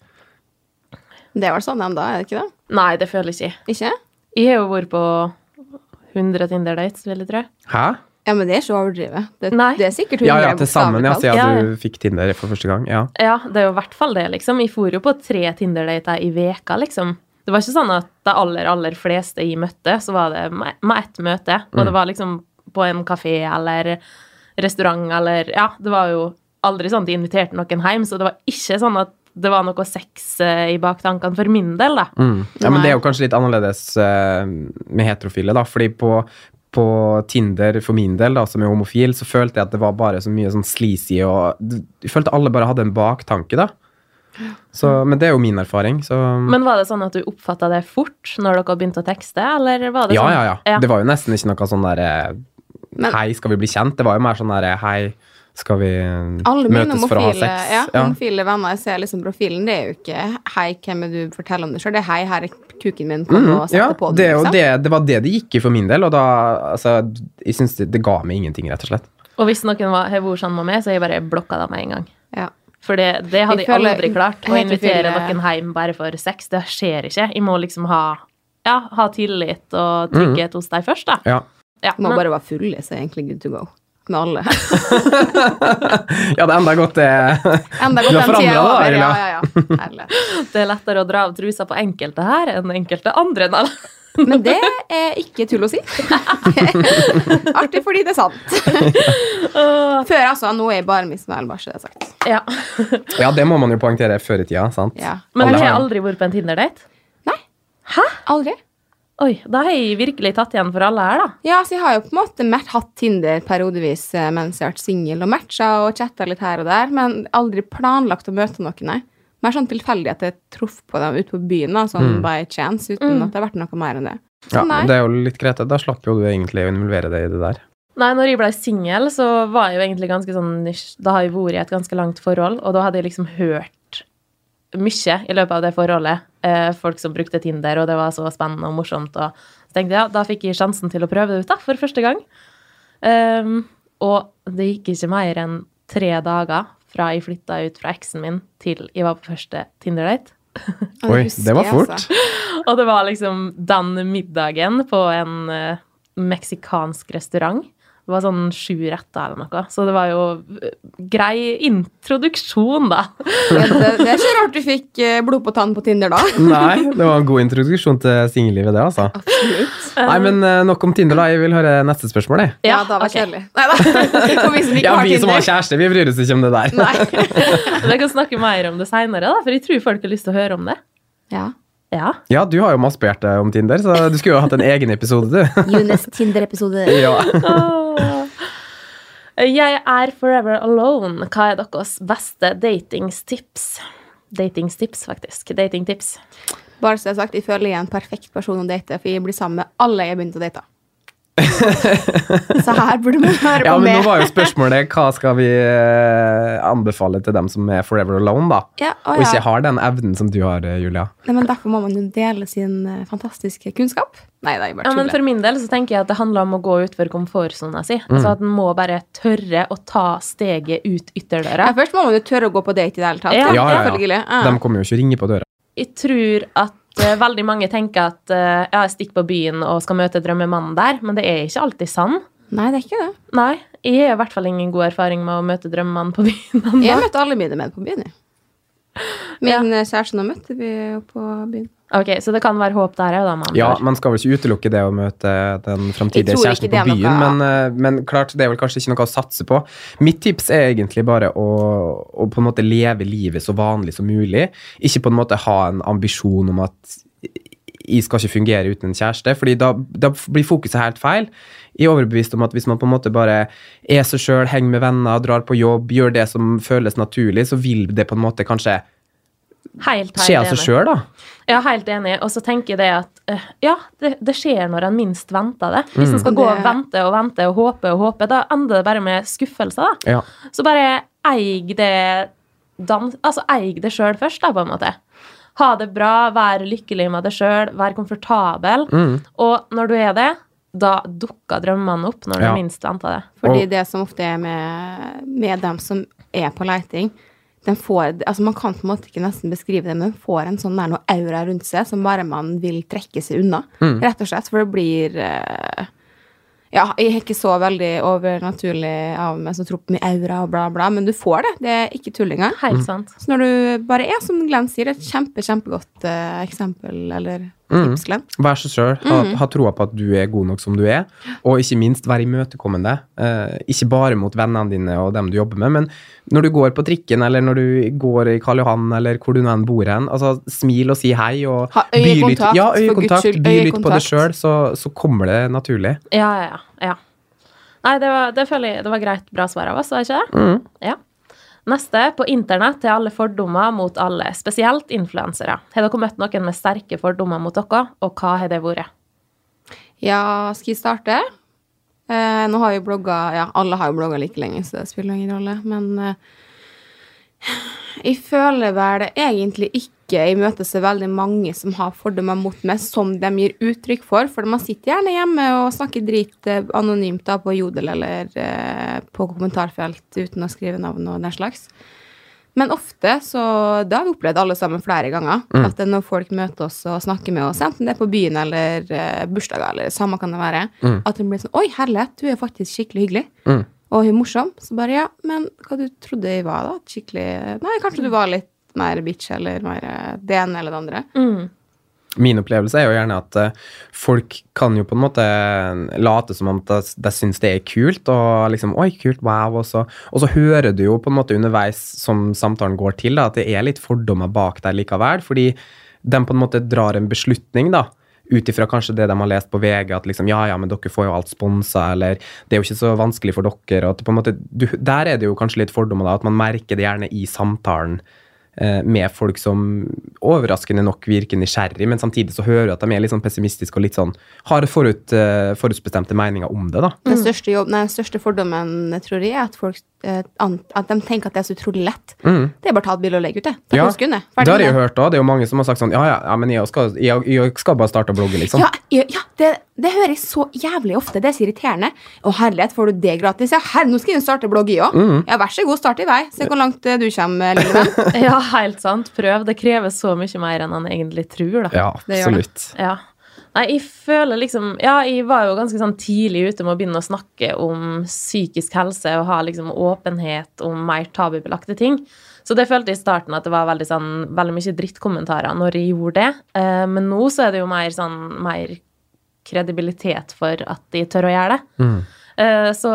Speaker 1: Det er vel sånn ennå, er det ikke det?
Speaker 3: Nei, det føler jeg ikke.
Speaker 1: Ikke?
Speaker 3: Jeg har jo vært på 100 Tinder-dates, vil jeg tro.
Speaker 2: Hæ?
Speaker 1: Ja, men det er ikke å overdrive. Det,
Speaker 3: Nei.
Speaker 1: det er sikkert
Speaker 2: Ja, ja,
Speaker 1: 100
Speaker 2: til sammen. Ja,
Speaker 1: bokstavelig
Speaker 2: siden
Speaker 3: Ja, ja.
Speaker 2: du fikk Tinder for første gang. Ja.
Speaker 3: Ja, det er jo i hvert fall det, liksom. Jeg for jo på tre Tinder-dater i veka, liksom. Det var ikke sånn at de aller, aller fleste jeg møtte, så var det med med ett møte. Og det
Speaker 2: Mm.
Speaker 3: var liksom på en kafé eller restaurant eller Ja, det var jo aldri sånn at de inviterte noen hjem, så det var ikke sånn at det var noe sex eh, i baktankene for min del, da.
Speaker 2: Mm. Ja, men
Speaker 3: Nei.
Speaker 2: det er jo kanskje litt annerledes eh, med heterofile, da. Fordi på, på Tinder, for min del, da, som er homofil, så følte jeg at det var bare så mye sånn sleazy og Jeg følte alle bare hadde en baktanke, da. Så, men det er jo min erfaring, så
Speaker 3: Men var det sånn at du oppfatta det fort når dere begynte å tekste, eller var det
Speaker 2: ja,
Speaker 3: sånn?
Speaker 2: ja, ja, Det var jo nesten ikke noe sånn derre
Speaker 1: Men-
Speaker 2: Hei, skal vi bli kjent? Det var jo mer sånn derre Hei, skal vi
Speaker 1: Alle mine
Speaker 2: møtes for å ha
Speaker 1: homofile,
Speaker 2: sex?
Speaker 1: ja,
Speaker 2: Ja.
Speaker 1: homofile venner jeg ser liksom profilen, det er jo ikke 'hei, hvem er du', fortell om deg sjøl. Det er 'hei, her er kuken min, kom og sett
Speaker 2: Mhm, Mm, Ja,
Speaker 1: det på
Speaker 2: det, er
Speaker 1: den'.
Speaker 2: jo
Speaker 1: Liksom.
Speaker 2: det, det var det det gikk i for min del, og da altså, Jeg syns det, det ga meg ingenting, rett og slett.
Speaker 3: Og hvis noen var- har vært sånn med meg, så har jeg bare blokka dem med en gang.
Speaker 1: Ja.
Speaker 3: For det, det hadde
Speaker 1: Jeg
Speaker 3: jeg,
Speaker 1: føler-
Speaker 3: aldri klart. Å
Speaker 1: jeg
Speaker 3: invitere
Speaker 1: føler-
Speaker 3: noen hjem bare for sex, det skjer ikke. Jeg må liksom ha, ja, ha tillit og trygghet hos deg først, da.
Speaker 2: Ja.
Speaker 3: Ja,
Speaker 1: Må
Speaker 3: men,
Speaker 1: bare være full, så er jeg egentlig good to go. Med alle.
Speaker 2: Ja, det er enda godt eh, det.
Speaker 1: Enda
Speaker 2: Du
Speaker 1: godt den tida
Speaker 2: har
Speaker 1: er
Speaker 2: forandret
Speaker 1: over. Ja,
Speaker 2: deg, Erla.
Speaker 1: ja, ja. Herlig.
Speaker 3: det er lettere å dra av trusa på enkelte her enn enkelte andre. da.
Speaker 1: Men det er ikke tull å si. Artig fordi det er sant.
Speaker 3: Åh,
Speaker 1: Før altså, nå er jeg bare misfornøyd, bare så det er sagt.
Speaker 3: ja.
Speaker 2: Ja, det må man jo poengtere før i tida, sant?
Speaker 1: Ja.
Speaker 3: Men
Speaker 2: Alle
Speaker 3: jeg har
Speaker 2: har-
Speaker 3: aldri vært på en Tinder-date.
Speaker 1: Nei,
Speaker 3: Hæ?
Speaker 1: aldri.
Speaker 3: Oi, da har jeg virkelig tatt igjen for alle her, da.
Speaker 1: Ja, så jeg har jo på en måte mer- hatt Tinder periodevis eh, mens jeg har vært singel og matcha og chatta litt her og der, men aldri planlagt å møte noen, nei. Mer sånn tilfeldig at jeg traff på dem ute på byen, da, sånn by chance, uten at det har vært noe mer enn det. Så
Speaker 2: Mm. Ja,
Speaker 1: sånn, nei.
Speaker 2: det er jo litt greit. Da slapp jo du egentlig å involvere deg i det der.
Speaker 3: Nei, når jeg ble singel, så var jeg jo egentlig ganske sånn nysj. Da har jeg vært i et ganske langt forhold, og da hadde jeg liksom hørt mye i løpet av det forholdet. Eh, folk som brukte Tinder, og det var så spennende og morsomt. Og så tenkte jeg, ja, da fikk jeg sjansen til å prøve det ut da, for første gang. Ehm, og det gikk ikke mer enn tre dager fra jeg flytta ut fra eksen min til jeg var på første Tinder-date.
Speaker 1: Ja,
Speaker 2: Oi,
Speaker 1: husker
Speaker 2: det var
Speaker 1: jeg,
Speaker 2: fort.
Speaker 1: altså.
Speaker 3: Og det var liksom den middagen på en eh, meksikansk restaurant. Det var sånn sju retter eller noe. Så det var jo eh, grei introduksjon, da.
Speaker 1: Ja, det, det er ikke rart du fikk eh, blod på tann på Tinder da.
Speaker 2: Nei, det var en god introduksjon til singellivet, det, altså.
Speaker 1: Absolutt.
Speaker 2: Nei, men eh, nok om Tinder, da. Jeg vil høre neste spørsmål, jeg.
Speaker 1: Ja, da var
Speaker 3: ok.
Speaker 1: det kjedelig. Nei da. For vi som ikke
Speaker 2: Ja,
Speaker 1: har
Speaker 2: vi som har
Speaker 1: Tinder.
Speaker 2: kjæreste, vi bryr oss ikke om det der.
Speaker 1: Nei.
Speaker 3: Jeg kan snakke mer om det seinere, da, for jeg tror folk har lyst til å høre om det.
Speaker 1: Ja.
Speaker 3: Ja.
Speaker 2: Ja, du har jo maspert deg om Tinder, så du skulle jo hatt en egen episode, du.
Speaker 1: Junes Tinder-episode.
Speaker 2: Ja.
Speaker 3: Åh. Jeg er forever alone. Hva er deres beste datingstips? Datingstips, faktisk. Datingtips.
Speaker 1: Bare så jeg har sagt, jeg føler jeg er en perfekt person å date, for jeg blir sammen med alle jeg begynte å date. Så her burde man høre
Speaker 2: Ja,
Speaker 1: på
Speaker 2: men nå
Speaker 1: med.
Speaker 2: var jo spørsmålet hva skal vi eh, anbefale til dem som er forever alone, da?
Speaker 1: Ja, å,
Speaker 2: Og
Speaker 1: ja.
Speaker 2: ikke har den evnen som du har, eh, Julia.
Speaker 1: Nei, men derfor må man jo dele sin eh, fantastiske kunnskap. Nei, det er bare
Speaker 3: Ja, men
Speaker 1: tuller.
Speaker 3: for min del så tenker jeg at det handler om å gå utfor komfortsona si.
Speaker 2: Mm.
Speaker 3: Altså at en må bare tørre å ta steget ut
Speaker 1: Ja,
Speaker 3: ytterdøra.
Speaker 1: først må man jo tørre å gå på date i det hele tatt.
Speaker 3: Ja,
Speaker 2: Ja, ja,
Speaker 1: Selvfølgelig.
Speaker 2: ja. De kommer jo ikke ringe på døra.
Speaker 3: Jeg tror at eh, veldig mange tenker at eh, ja, jeg stikker på byen og skal møte drømmemannen der, men det er ikke alltid sann.
Speaker 1: Nei, det er ikke det.
Speaker 3: Nei, jeg har i hvert fall ingen god erfaring med å møte drømmemannen på byen. ennå.
Speaker 1: Jeg møtte alle mine menn på byen. jeg. Min eh, kjæreste nå møtte vi jo på byen.
Speaker 3: Ok, Så det kan være håp der òg, da. Man
Speaker 2: Ja, Man skal vel ikke utelukke det å møte den framtidige
Speaker 1: Jeg tror ikke
Speaker 2: kjæresten
Speaker 1: det er
Speaker 2: på byen,
Speaker 1: noe-
Speaker 2: men, eh, men klart, det er vel kanskje ikke noe å satse på. Mitt tips er egentlig bare å, å på en måte leve livet så vanlig som mulig. Ikke på en måte ha en ambisjon om at jeg skal ikke fungere uten en kjæreste, fordi da, da blir fokuset helt feil. Jeg er overbevist om at hvis man på en måte bare er seg sjøl, henger med venner, drar på jobb, gjør det som føles naturlig, så vil det på en måte kanskje
Speaker 3: Helt, helt
Speaker 2: skje av
Speaker 3: enig.
Speaker 2: seg sjøl, da.
Speaker 3: Ja, helt enig. Og så tenker jeg det at eh, ja, det, det skjer når en minst venter det.
Speaker 2: Mm.
Speaker 3: Hvis en skal
Speaker 1: Og
Speaker 3: gå
Speaker 1: det-
Speaker 3: og vente og vente og håpe og håpe, da ender det bare med skuffelser, da.
Speaker 2: Ja.
Speaker 3: Så bare eig det dans... Altså eig det sjøl først, da, på en måte. Ha det bra, vær lykkelig med det sjøl, vær komfortabel. Og når du er det, da dukker drømmene opp når
Speaker 2: Ja.
Speaker 3: du minst venter det.
Speaker 1: Fordi
Speaker 2: Og-
Speaker 1: det som ofte er med, med dem som er på leiting, den får, altså man kan på en måte ikke nesten beskrive det, men den får en sånn der noe aura rundt seg som bare man vil trekke seg unna, rett og slett. For det blir eh, Ja, jeg er ikke så veldig overnaturlig av meg som tror på mye aura og bla, bla, men du får det. Det er ikke tull engang.
Speaker 3: Helt sant.
Speaker 1: Så når du bare er, som Glenn sier, et kjempe, kjempegodt eh, eksempel eller tips, Glenn.
Speaker 2: Vær seg sjøl. Ha,
Speaker 1: Mhm.
Speaker 2: ha troa på at du er god nok som du er. Og ikke minst, vær imøtekommende. Eh, ikke bare mot vennene dine og dem du jobber med, men når du går på trikken, eller når du går i Karl Johan, eller hvor du nå enn bor hen, altså, smil og si hei. Og
Speaker 1: Ha
Speaker 2: by litt-
Speaker 1: øyekontakt,
Speaker 2: Ja,
Speaker 1: for guds
Speaker 2: øyekontakt.
Speaker 1: skyld,
Speaker 2: By litt på
Speaker 1: øyekontakt.
Speaker 2: det sjøl, så, så kommer det naturlig.
Speaker 3: Ja, ja, ja, ja. Nei, det var, det, føler jeg, det var greit bra svar av oss, var det ikke det?
Speaker 2: Mm,
Speaker 3: Ja. Neste. På internett er alle fordommer mot alle, spesielt influensere. Har dere møtt noen med sterke fordommer mot dere, og hva har det vært?
Speaker 1: Ja, skal jeg starte? Eh, nå har jo blogga Ja, alle har jo blogga like lenge, så det spiller ingen rolle. Men eh, jeg føler vel egentlig ikke jeg møter så veldig mange som har fordommer mot meg, som de gir uttrykk for. For man sitter gjerne hjemme og snakker drit eh, anonymt da på Jodel eller eh, på kommentarfelt uten å skrive navn og den slags. Men ofte, så det har vi opplevd alle sammen flere ganger,
Speaker 2: Mm.
Speaker 1: at det er når folk møter oss og snakker med oss, enten det er på byen eller eh, bursdager, eller samme kan det være, at det blir sånn Oi, herlighet, du er faktisk skikkelig hyggelig.
Speaker 2: Mm.
Speaker 1: Og hun morsom. Så bare ja, men hva du trodde jeg var, da? Skikkelig Nei, kanskje du var litt mer bitch eller mer eh, det ene eller det andre.
Speaker 3: Mm.
Speaker 2: Min opplevelse er jo gjerne at eh, folk kan jo på en måte eh, late som om de, de syns det er kult, og liksom Oi, kult, wow, og så Og så hører du jo på en måte underveis som samtalen går til, da, at det er litt fordommer bak der likevel, fordi de på en måte drar en beslutning, da. Ut ifra kanskje det de har lest på VG, at liksom ja, ja, men dere får jo alt sponsa, eller det er jo ikke så vanskelig for dere, og at det på en måte du, Der er det jo kanskje litt fordommer, da, at man merker det gjerne i samtalen eh, med folk som overraskende nok virker nysgjerrig, men samtidig så hører du at de er litt sånn pessimistiske og litt sånn har forut, eh, forutbestemte meninger om det, da.
Speaker 1: Den største, jobb, nei, den største fordommen, tror jeg, er at folk eh, an- at de tenker at det er så utrolig lett. Det er bare å ta et bilde og legge ut det. Ta
Speaker 2: Mm. Ja,
Speaker 1: ja. sekunder.
Speaker 2: Det har jeg jo
Speaker 1: med det.
Speaker 2: hørt òg. Det er jo mange som har sagt sånn Ja, ja, ja men jeg skal, jeg, jeg skal bare starte å blogge, liksom.
Speaker 1: Ja, ja, ja det, det hører jeg så jævlig ofte. Det er så irriterende. Å herlighet, får du det gratis? Ja, her, nå skal jeg jo starte blogg, jeg òg. Ja, vær så god, start i vei. Se hvor langt eh, du kommer, lille venn.
Speaker 3: Ja, helt sant. Prøv. Det krever så mye mer enn han egentlig tror, da.
Speaker 2: Ja,
Speaker 1: Det gjør det.
Speaker 2: absolutt.
Speaker 3: Ja. Nei, jeg føler liksom Ja, jeg var jo ganske sånn tidlig ute med å begynne å snakke om psykisk helse og ha liksom åpenhet om mer tabubelagte ting. Så det følte jeg i starten at det var veldig, sånn, veldig mye drittkommentarer når jeg gjorde det. Eh, men nå så er det jo mer sånn mer kredibilitet for at de tør å gjøre det.
Speaker 2: Mm,
Speaker 3: Eh, så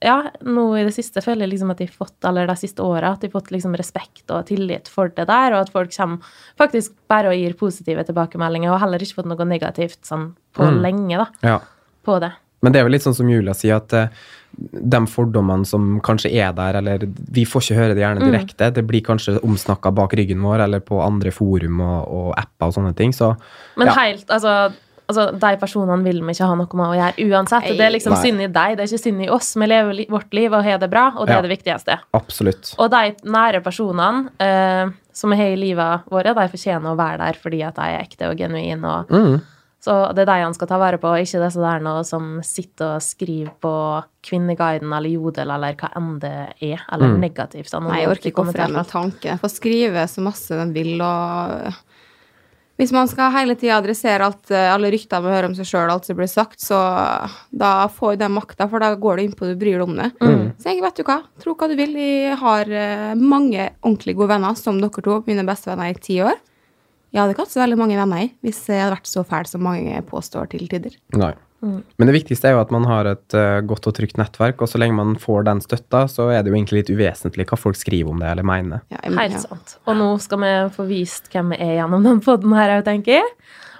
Speaker 3: ja, nå i det siste føler jeg liksom at de har fått, eller de siste åra, at de har fått liksom respekt og tillit for det der, og at folk kommer faktisk bare og gir positive tilbakemeldinger, og heller ikke fått noe negativt sånn på
Speaker 2: Mm.
Speaker 3: lenge, da,
Speaker 2: Ja.
Speaker 3: på det.
Speaker 2: Men det er vel litt sånn som Julia sier, at eh, de fordommene som kanskje er der, eller vi får ikke høre det gjerne
Speaker 1: Mm.
Speaker 2: direkte, det blir kanskje omsnakka bak ryggen vår eller på andre forum og, og apper og sånne ting, så
Speaker 3: Men
Speaker 2: ja.
Speaker 3: helt, altså altså, De personene vil vi ikke ha noe med å gjøre uansett. Det er liksom
Speaker 2: Nei.
Speaker 3: synd i deg, det er ikke synd i oss. Vi lever li vårt liv og har det bra, og det
Speaker 2: Ja.
Speaker 3: er det viktigste.
Speaker 2: Absolutt.
Speaker 3: Og de nære personene eh, som vi har i livet vårt, de fortjener å være der fordi at de er ekte og genuine. Og,
Speaker 2: Mm.
Speaker 3: Så det er de han skal ta vare på, og ikke disse der nå som sitter og skriver på Kvinneguiden eller Jodel eller hva enn det er, eller negativt. anonymt
Speaker 1: Nei, jeg
Speaker 3: i
Speaker 1: orker ikke å
Speaker 3: kommentarfelt.
Speaker 1: fremme tanken. Jeg får skrive så masse de vil, og Hvis man skal hele tida adressere alt, eh, alle ryktene man hører om seg sjøl, alt som blir sagt, så da får du den makta, for da går du innpå og du bryr deg om det. Så jeg vet du hva, tro hva du vil. Jeg har eh, mange ordentlig gode venner, som dere to, mine beste venner i ti år. Jeg hadde ikke hatt så veldig mange venner i hvis jeg hadde vært så fæl som mange påstår til tider.
Speaker 2: Nei.
Speaker 1: Mm.
Speaker 2: Men det viktigste er jo at man har et eh, godt og trygt nettverk, og så lenge man får den støtta, så er det jo egentlig litt uvesentlig hva folk skriver om det eller mener.
Speaker 1: Ja, jeg-
Speaker 3: Helt
Speaker 1: ja.
Speaker 3: sant. Og nå skal vi få vist hvem vi er gjennom den podden her, jeg tenker jeg.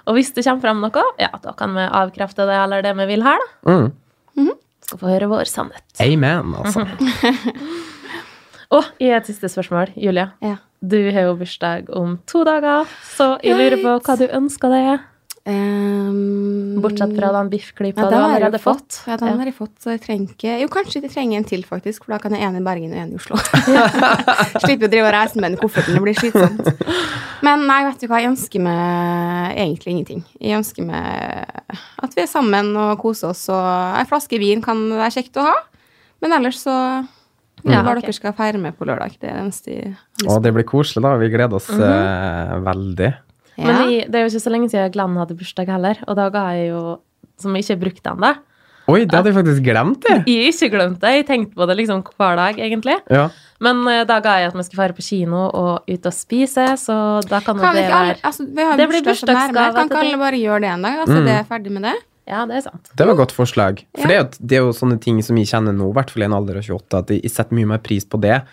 Speaker 3: Og hvis det kommer fram noe, ja, da kan vi avkrefte det eller det vi vil her, da.
Speaker 2: Mm.
Speaker 3: Skal få høre vår sannhet.
Speaker 2: Amen, altså.
Speaker 3: Og i et siste spørsmål, Julia.
Speaker 1: Ja.
Speaker 3: Du har jo bursdag om to dager, så jeg lurer på hva du ønsker deg.
Speaker 1: Ehm,
Speaker 3: Bortsett fra den biffklypa
Speaker 1: Ja,
Speaker 3: du
Speaker 1: den har jeg
Speaker 3: allerede
Speaker 1: jo
Speaker 3: fått.
Speaker 1: Ja, den har jeg fått, så jeg trenger ikke Jo, kanskje jeg trenger en til, faktisk, for da kan jeg en i Bergen og en i Oslo. Slipper å drive og reise med den i kofferten, det blir slitsomt. Men nei, vet du hva, jeg ønsker meg egentlig ingenting. Jeg ønsker meg at vi er sammen og koser oss, og ei flaske vin kan være kjekt å ha. Men ellers så
Speaker 3: Ja,
Speaker 1: Hva
Speaker 3: ok.
Speaker 1: dere skal feire med på lørdag. Det er Mhm. det eneste jeg har lyst
Speaker 2: Og det blir koselig, da. Vi gleder oss eh, veldig.
Speaker 1: til.
Speaker 3: Men
Speaker 1: Ja.
Speaker 3: jeg, det er jo ikke så lenge siden Glenn hadde bursdag heller, og da ga jeg jo, som jeg ikke brukte ennå.
Speaker 2: Oi, det hadde jeg faktisk glemt, jeg!
Speaker 3: Jeg har ikke glemt det, jeg tenkte på det liksom hver dag, egentlig.
Speaker 2: Ja.
Speaker 3: Men eh, da ga jeg at vi skulle fare på kino og ut og spise, så da kan, jo
Speaker 1: Kan vi
Speaker 3: det
Speaker 1: ikke alle,
Speaker 3: være
Speaker 1: altså, vi har
Speaker 3: Det blir
Speaker 1: bursdag så nærmer.
Speaker 3: bursdagsgave
Speaker 1: Kan ikke
Speaker 3: til
Speaker 1: alle bare gjøre det en dag, da, så
Speaker 2: Mm.
Speaker 1: det er ferdig med det?
Speaker 3: Ja, det er sant.
Speaker 2: Det var et godt forslag.
Speaker 1: Ja.
Speaker 2: For det, er jo, det er jo sånne ting som jeg kjenner nå, i hvert fall i en alder av 28, at jeg jeg setter mye mer pris på det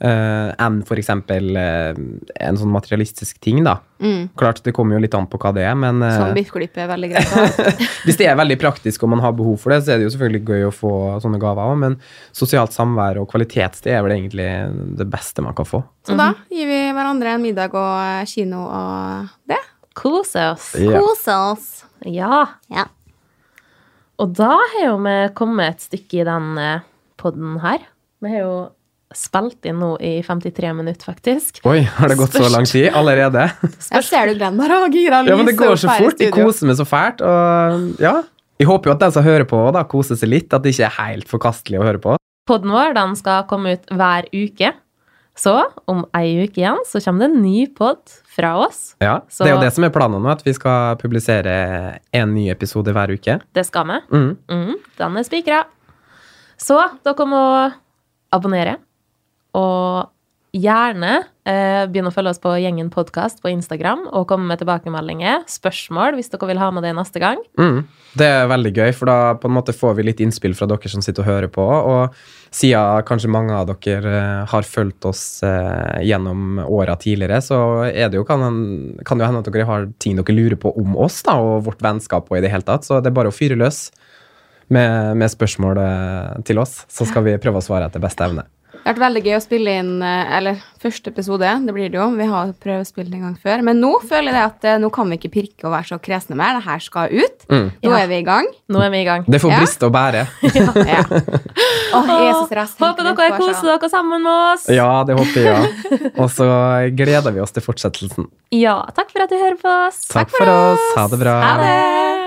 Speaker 2: eh, enn f.eks. Uh, en sånn materialistisk ting, da.
Speaker 1: Mm.
Speaker 2: Klart, det kommer jo litt an på hva det er, men eh,
Speaker 1: Sånn biffklipp er veldig greit. å ha.
Speaker 2: hvis det er veldig praktisk og man har behov for det, så er det jo selvfølgelig gøy å få sånne gaver òg, men sosialt samvær og kvalitetstid er vel egentlig det beste man kan få.
Speaker 1: Så da
Speaker 2: Mhm.
Speaker 1: gir vi hverandre en middag og eh, kino og det.
Speaker 3: Kose oss.
Speaker 2: Ja.
Speaker 1: Kose oss.
Speaker 3: Ja.
Speaker 1: Ja.
Speaker 3: Og da har jo vi kommet et stykke i den eh, podden her. Vi har jo spilt inn nå i 53 minutter, faktisk.
Speaker 2: Oi, har det gått så lang tid allerede?
Speaker 1: Jeg ser du Glenn bare og gira.
Speaker 2: Ja, men det
Speaker 1: lyset
Speaker 2: går
Speaker 1: opp
Speaker 2: så
Speaker 1: her i
Speaker 2: fort. Jeg
Speaker 1: studio.
Speaker 2: koser meg så fælt. Og ja. Jeg håper jo at den som hører på, da, koser seg litt. At det ikke er helt forkastelig å høre på.
Speaker 3: Podden vår den skal komme ut hver uke. Så om ei uke igjen så kommer det en ny podd fra oss.
Speaker 2: Ja,
Speaker 3: Så-
Speaker 2: Det er jo det som er planen nå, at vi skal publisere en ny episode hver uke.
Speaker 3: Det skal vi.
Speaker 2: Mm.
Speaker 3: Mm, den er spikra. Så dere må abonnere. Og gjerne eh, begynne å følge oss på Gjengen podkast på Instagram. Og komme med tilbakemeldinger, spørsmål, hvis dere vil ha med det neste gang.
Speaker 2: Mm. Det er veldig gøy, for da på en måte får vi litt innspill fra dere som sitter og hører på. Og siden kanskje mange av dere eh, har fulgt oss eh, gjennom åra tidligere, så er det jo, kan, en- kan det jo hende at dere har ting dere lurer på om oss da, og vårt vennskap. og i det hele tatt. Så det er bare å fyre løs med, med spørsmål eh, til oss, så skal vi prøve å svare etter beste evne.
Speaker 1: Det har vært veldig gøy å spille inn eh, Eller første episode, det blir det jo. Vi har prøvspilt en gang før. Men nå føler jeg det at eh, nå kan vi ikke pirke og være så kresne mer. Det her skal ut.
Speaker 2: Mm.
Speaker 1: Nå
Speaker 3: Ja.
Speaker 1: er vi i gang.
Speaker 3: Nå er vi i gang.
Speaker 2: Det får
Speaker 1: Ja.
Speaker 2: briste og bære.
Speaker 1: Ja. Åh, jeg er så stresset.
Speaker 3: Håper dere koser dere sammen med oss.
Speaker 2: Ja, det håper jeg. Ja. Og så gleder vi oss til fortsettelsen.
Speaker 3: Ja, takk for at du hører på oss.
Speaker 2: Takk for oss. Ha det bra.
Speaker 3: Ha det.